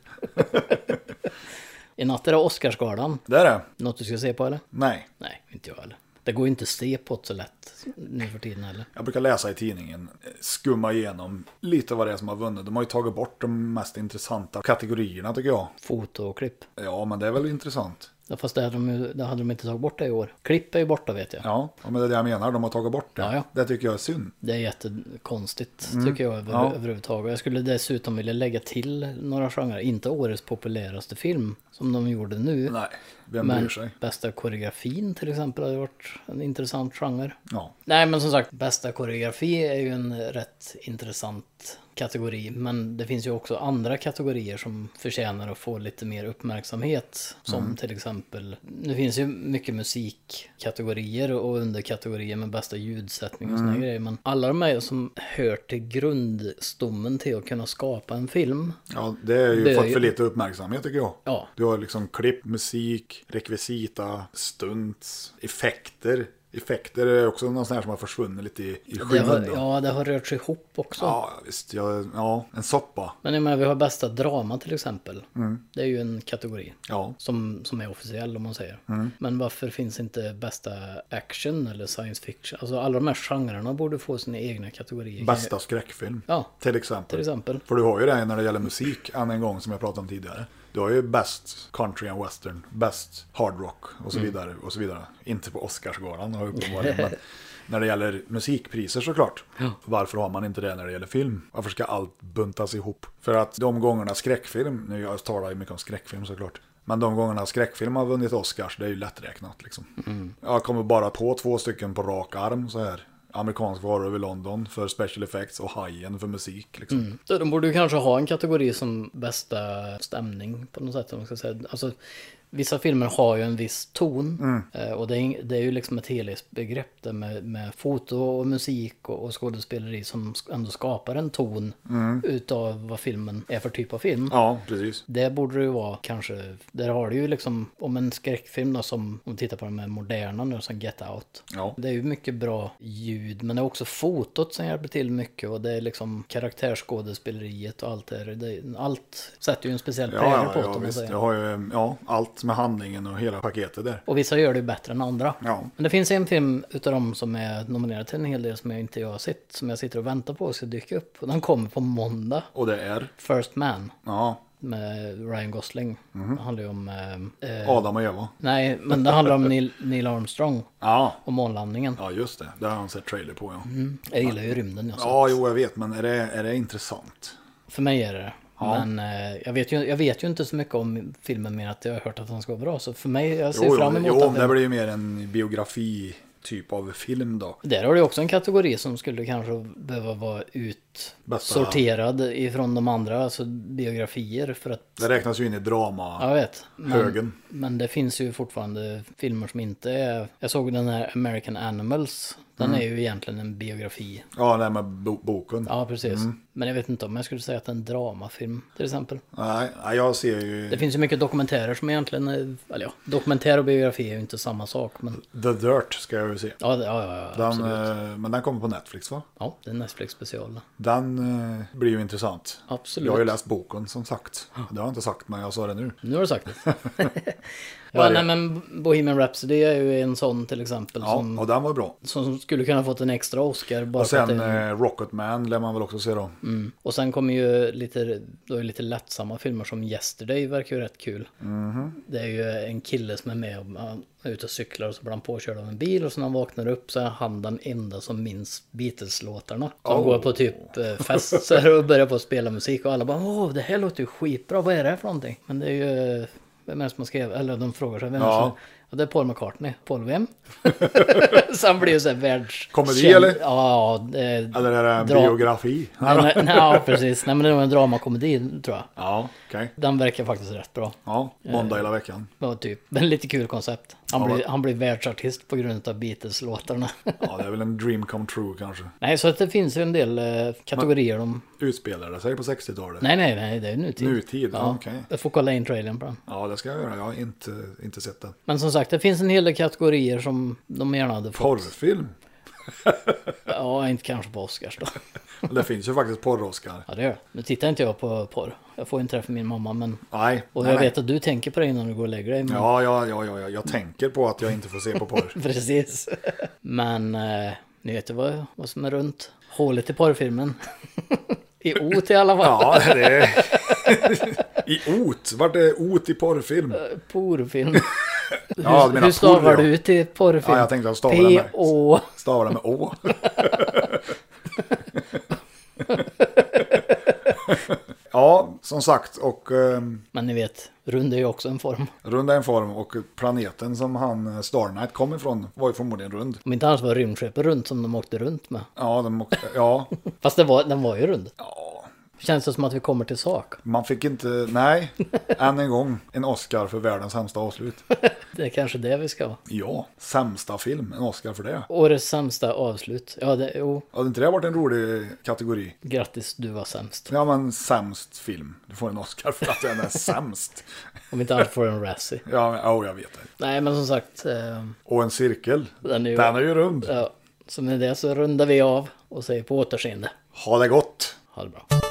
Speaker 1: I natt är det Oscarsgalan.
Speaker 2: Det är det?
Speaker 1: Något du ska se på eller?
Speaker 2: Nej.
Speaker 1: Nej, inte jag heller. Det går ju inte att se på det så lätt nu för tiden heller.
Speaker 2: Jag brukar läsa i tidningen, eh, skumma igenom lite vad det är som har vunnit. De har ju tagit bort de mest intressanta kategorierna tycker jag.
Speaker 1: Foto och klipp.
Speaker 2: Ja, men det är väl intressant.
Speaker 1: Ja, Fast det hade, de, ju- det hade de inte tagit bort det i år. Klipp är ju borta vet jag.
Speaker 2: Ja, ja, men det är det jag menar. De har tagit bort det.
Speaker 1: Ja, ja.
Speaker 2: Det tycker jag är synd.
Speaker 1: Det är jättekonstigt tycker jag över,
Speaker 2: Mm. Ja.
Speaker 1: överhuvudtaget. Jag skulle dessutom vilja lägga till några genrer. Inte årets populäraste film som de gjorde nu.
Speaker 2: Nej, vem
Speaker 1: men
Speaker 2: bryr sig?
Speaker 1: bästa koreografin till exempel hade varit en intressant genre.
Speaker 2: Ja.
Speaker 1: Nej men som sagt, bästa koreografi är ju en rätt intressant kategori. Men det finns ju också andra kategorier som förtjänar att få lite mer uppmärksamhet. Som
Speaker 2: Mm.
Speaker 1: till exempel, det finns ju mycket musikkategorier och underkategorier med bästa ljudsättning och
Speaker 2: Mm.
Speaker 1: såna grejer. Men alla de här som hör till grundstommen till att kunna skapa en film.
Speaker 2: Ja, det är ju
Speaker 1: Det är
Speaker 2: fått
Speaker 1: ju-
Speaker 2: för lite uppmärksamhet tycker jag.
Speaker 1: Ja.
Speaker 2: Du har liksom klipp, musik, rekvisita, stunts, effekter. Effekter är också någon sån här som har försvunnit lite i, i
Speaker 1: Det har,
Speaker 2: skymundan. Ja.
Speaker 1: ja, det har rört sig ihop också.
Speaker 2: ja, visst. Ja, ja, en soppa.
Speaker 1: Men jag menar, vi har bästa drama till exempel. Det är ju en kategori.
Speaker 2: Mm. Ja.
Speaker 1: Som, som är officiell om man säger. Men varför finns inte bästa action eller science fiction? Alltså alla de här genrerna borde få sina egna kategorier.
Speaker 2: Bästa skräckfilm.
Speaker 1: Ja,
Speaker 2: Till exempel.
Speaker 1: till exempel.
Speaker 2: För du har ju det när det gäller musik, än en gång som jag pratade om tidigare. Du har ju bäst country and western, bäst hard rock och så vidare. Och så vidare. Inte på Oscarsgalan har jag uppenbarligen, men när det gäller musikpriser såklart. Varför har man inte det när det gäller film? Varför ska allt buntas ihop? För att de gångerna skräckfilm, nu jag talar ju mycket om skräckfilm såklart. Men de gångerna skräckfilm har vunnit Oscars, det är ju lätträknat liksom. Jag kommer bara på två stycken på rak arm så här. Amerikansk vara över London för special effects och Hajen för musik liksom.
Speaker 1: Så De borde ju kanske ha en kategori som bästa stämning på något sätt. Om man ska säga. Alltså, vissa filmer har ju en viss ton. eh, Och det är, ing- det är ju liksom ett helhetsbegrepp där med, med foto och musik och, och skådespeleri som sk- ändå skapar en ton utav vad filmen är för typ av film.
Speaker 2: Ja, precis.
Speaker 1: Det borde det ju vara kanske, där har du ju liksom, om en skräckfilm då som, om vi tittar på de här moderna nu som Get Out.
Speaker 2: Ja.
Speaker 1: Det är ju mycket bra ljud, men det är också fotot som hjälper till mycket och det är liksom karaktärsskådespeleriet och allt det, här. det Allt sätter ju en speciell prägel
Speaker 2: Ja, ja,
Speaker 1: på det
Speaker 2: ja,
Speaker 1: om man
Speaker 2: visst.
Speaker 1: säger.
Speaker 2: Jag har ju, ja, allt perfekt med handlingen och hela paketet där.
Speaker 1: Och vissa gör det bättre än andra.
Speaker 2: Ja.
Speaker 1: Men det finns en film utav dem som är nominerad till en hel del som jag inte jag har sett. Som jag sitter och väntar på ska dyka upp. Och den kommer på måndag.
Speaker 2: Och det är,
Speaker 1: First Man.
Speaker 2: ja,
Speaker 1: Med Ryan Gosling.
Speaker 2: Mhm.
Speaker 1: Det handlar ju om... Eh, eh,
Speaker 2: Adam och Eva.
Speaker 1: nej, men det handlar om Neil, Neil Armstrong.
Speaker 2: Ja,
Speaker 1: Och månlandningen.
Speaker 2: ja just det. Det har han sett trailer på ja.
Speaker 1: Jag gillar ju rymden. Jag Mm, så.
Speaker 2: Ja, jo jag vet, men är det, är det intressant?
Speaker 1: För mig är det det. Men eh, jag, vet ju, jag vet ju inte så mycket om filmen mer att jag har hört att den ska vara bra. Så för mig, jag ser
Speaker 2: Jo,
Speaker 1: fram
Speaker 2: jo,
Speaker 1: emot
Speaker 2: jo
Speaker 1: att
Speaker 2: det blir ju mer en biografi typ av film då.
Speaker 1: Där har du också en kategori som skulle kanske behöva vara utsorterad ifrån de andra, alltså biografier för att...
Speaker 2: Det räknas ju in i
Speaker 1: Ja,
Speaker 2: drama.
Speaker 1: jag vet. Men,
Speaker 2: Högen.
Speaker 1: men det finns ju fortfarande filmer som inte är... Jag såg den här American Animals. Den
Speaker 2: Mm.
Speaker 1: är ju egentligen en biografi.
Speaker 2: Ja, det här med bo- boken.
Speaker 1: Ja, precis.
Speaker 2: Mm.
Speaker 1: Men jag vet inte om jag skulle säga att det är en dramafilm, till exempel.
Speaker 2: Nej, nej, jag ser ju
Speaker 1: Det finns ju mycket dokumentärer som egentligen är... Eller ja, dokumentär och biografi är ju inte samma sak, men...
Speaker 2: The Dirt ska jag ju se.
Speaker 1: Ja, det- ja, ja, ja
Speaker 2: Den,
Speaker 1: absolut.
Speaker 2: eh, men den kommer på Netflix va?
Speaker 1: Ja, det är en Netflix-special.
Speaker 2: Den eh, blir ju intressant.
Speaker 1: Absolut.
Speaker 2: Jag har ju läst boken som sagt. Det har jag inte sagt men jag sa det nu.
Speaker 1: Nu har du sagt det.
Speaker 2: Vad
Speaker 1: ja,
Speaker 2: är det?
Speaker 1: nej, men Bohemian Rhapsody är ju en sån till exempel
Speaker 2: Ja,
Speaker 1: som,
Speaker 2: och den var bra.
Speaker 1: som skulle kunna fått en extra Oscar. Bara
Speaker 2: Och
Speaker 1: för att
Speaker 2: sen
Speaker 1: det Mm. är en-
Speaker 2: eh, Rocketman lär man väl också se då.
Speaker 1: och sen kommer ju lite, då är det lite lättsamma filmer som Yesterday verkar ju rätt kul.
Speaker 2: Mhm.
Speaker 1: Det är ju en kille som är med och han är ute och cyklar och så blir han påkörd av en bil och så när han vaknar upp så är han den enda som minns Beatles-låtarna. Som
Speaker 2: Oh.
Speaker 1: går på typ eh, fester och börjar på att spela musik och alla bara åh det här låter ju skitbra, vad är det här för någonting? Men det är ju, vem är det som har skrivit, eller de frågar sig vem är det som
Speaker 2: Ja.
Speaker 1: Ja, det är Paul McCartney. Paul vem? så han blir ju såhär världs...
Speaker 2: Komedi, eller?
Speaker 1: Ja, det,
Speaker 2: Eller är det
Speaker 1: Dra-
Speaker 2: en biografi?
Speaker 1: Nej, nej, nej, ja, precis. Nej, men det var en dramakomedi, tror jag.
Speaker 2: Ja, okej.
Speaker 1: Den verkar faktiskt rätt bra.
Speaker 2: Ja, måndag hela veckan.
Speaker 1: Det var typ men lite kul koncept. Han,
Speaker 2: Ja,
Speaker 1: blir,
Speaker 2: va?
Speaker 1: han blir världsartist på grund av Beatles-låtarna.
Speaker 2: Ja, det är väl en dream come true kanske.
Speaker 1: nej, så att det finns ju en del eh, kategorier om...
Speaker 2: Utspelar det sig på 60-talet?
Speaker 1: Nej, nej, nej, det är nutid.
Speaker 2: Nutid, ja, okej.
Speaker 1: Jag får kolla in trailern på den.
Speaker 2: Ja, det ska jag göra. Jag har inte, inte sett den.
Speaker 1: Men som sagt, det finns en hel del kategorier som de gärna hade fått.
Speaker 2: Porrfilm?
Speaker 1: Ja, inte kanske på Oscars då.
Speaker 2: Men Det finns ju faktiskt porr-Oscar.
Speaker 1: Ja, det gör jag. Nu tittar inte jag på porr. Jag får ju en träff med min mamma, men...
Speaker 2: Nej.
Speaker 1: Och
Speaker 2: nej,
Speaker 1: jag
Speaker 2: nej.
Speaker 1: vet att du tänker på det innan du går och lägger dig. Men...
Speaker 2: Ja, ja, ja, ja, ja, jag tänker på att jag inte får se på porr.
Speaker 1: Precis. Men eh, ni vet ju vad, vad som är runt hålet i porrfilmen. I ot i alla fall.
Speaker 2: Ja, det är... I ot. Vart är ot i porrfilm?
Speaker 1: Porrfilm.
Speaker 2: Ja, du
Speaker 1: Eh, Hur stavar du till porrfilm?
Speaker 2: Ja, jag tänkte jag stavar den med.
Speaker 1: P-O...
Speaker 2: Stavar det med å? ja, som sagt. Och eh,
Speaker 1: Men ni vet, rund är ju också en form.
Speaker 2: rund är en form. Och planeten som han eh, Star Knight kom ifrån var ju förmodligen rund.
Speaker 1: Om inte annars var rymdskeppet runt som de åkte runt med.
Speaker 2: Ja, de, ja,
Speaker 1: Fast det var, den var ju rund. Känns det som att vi kommer till sak?
Speaker 2: man fick inte... Nej, än en gång. En Oscar för världens sämsta avslut.
Speaker 1: Det är kanske det vi ska ha.
Speaker 2: Ja, sämsta film. En Oscar för det.
Speaker 1: Årets sämsta avslut. Ja, det, jo.
Speaker 2: Hade inte det varit en rolig kategori?
Speaker 1: Grattis, du var sämst.
Speaker 2: Ja, men sämst film. Du får en Oscar för att den är sämst.
Speaker 1: Om inte annars får du en Razzie.
Speaker 2: Ja, men, oh, jag vet det.
Speaker 1: Nej, men som sagt. Eh,
Speaker 2: Och en cirkel.
Speaker 1: Den är ju-
Speaker 2: rund.
Speaker 1: Ja, så med det så rundar vi av och säger på återseende.
Speaker 2: Ha det gott!
Speaker 1: Ha det bra.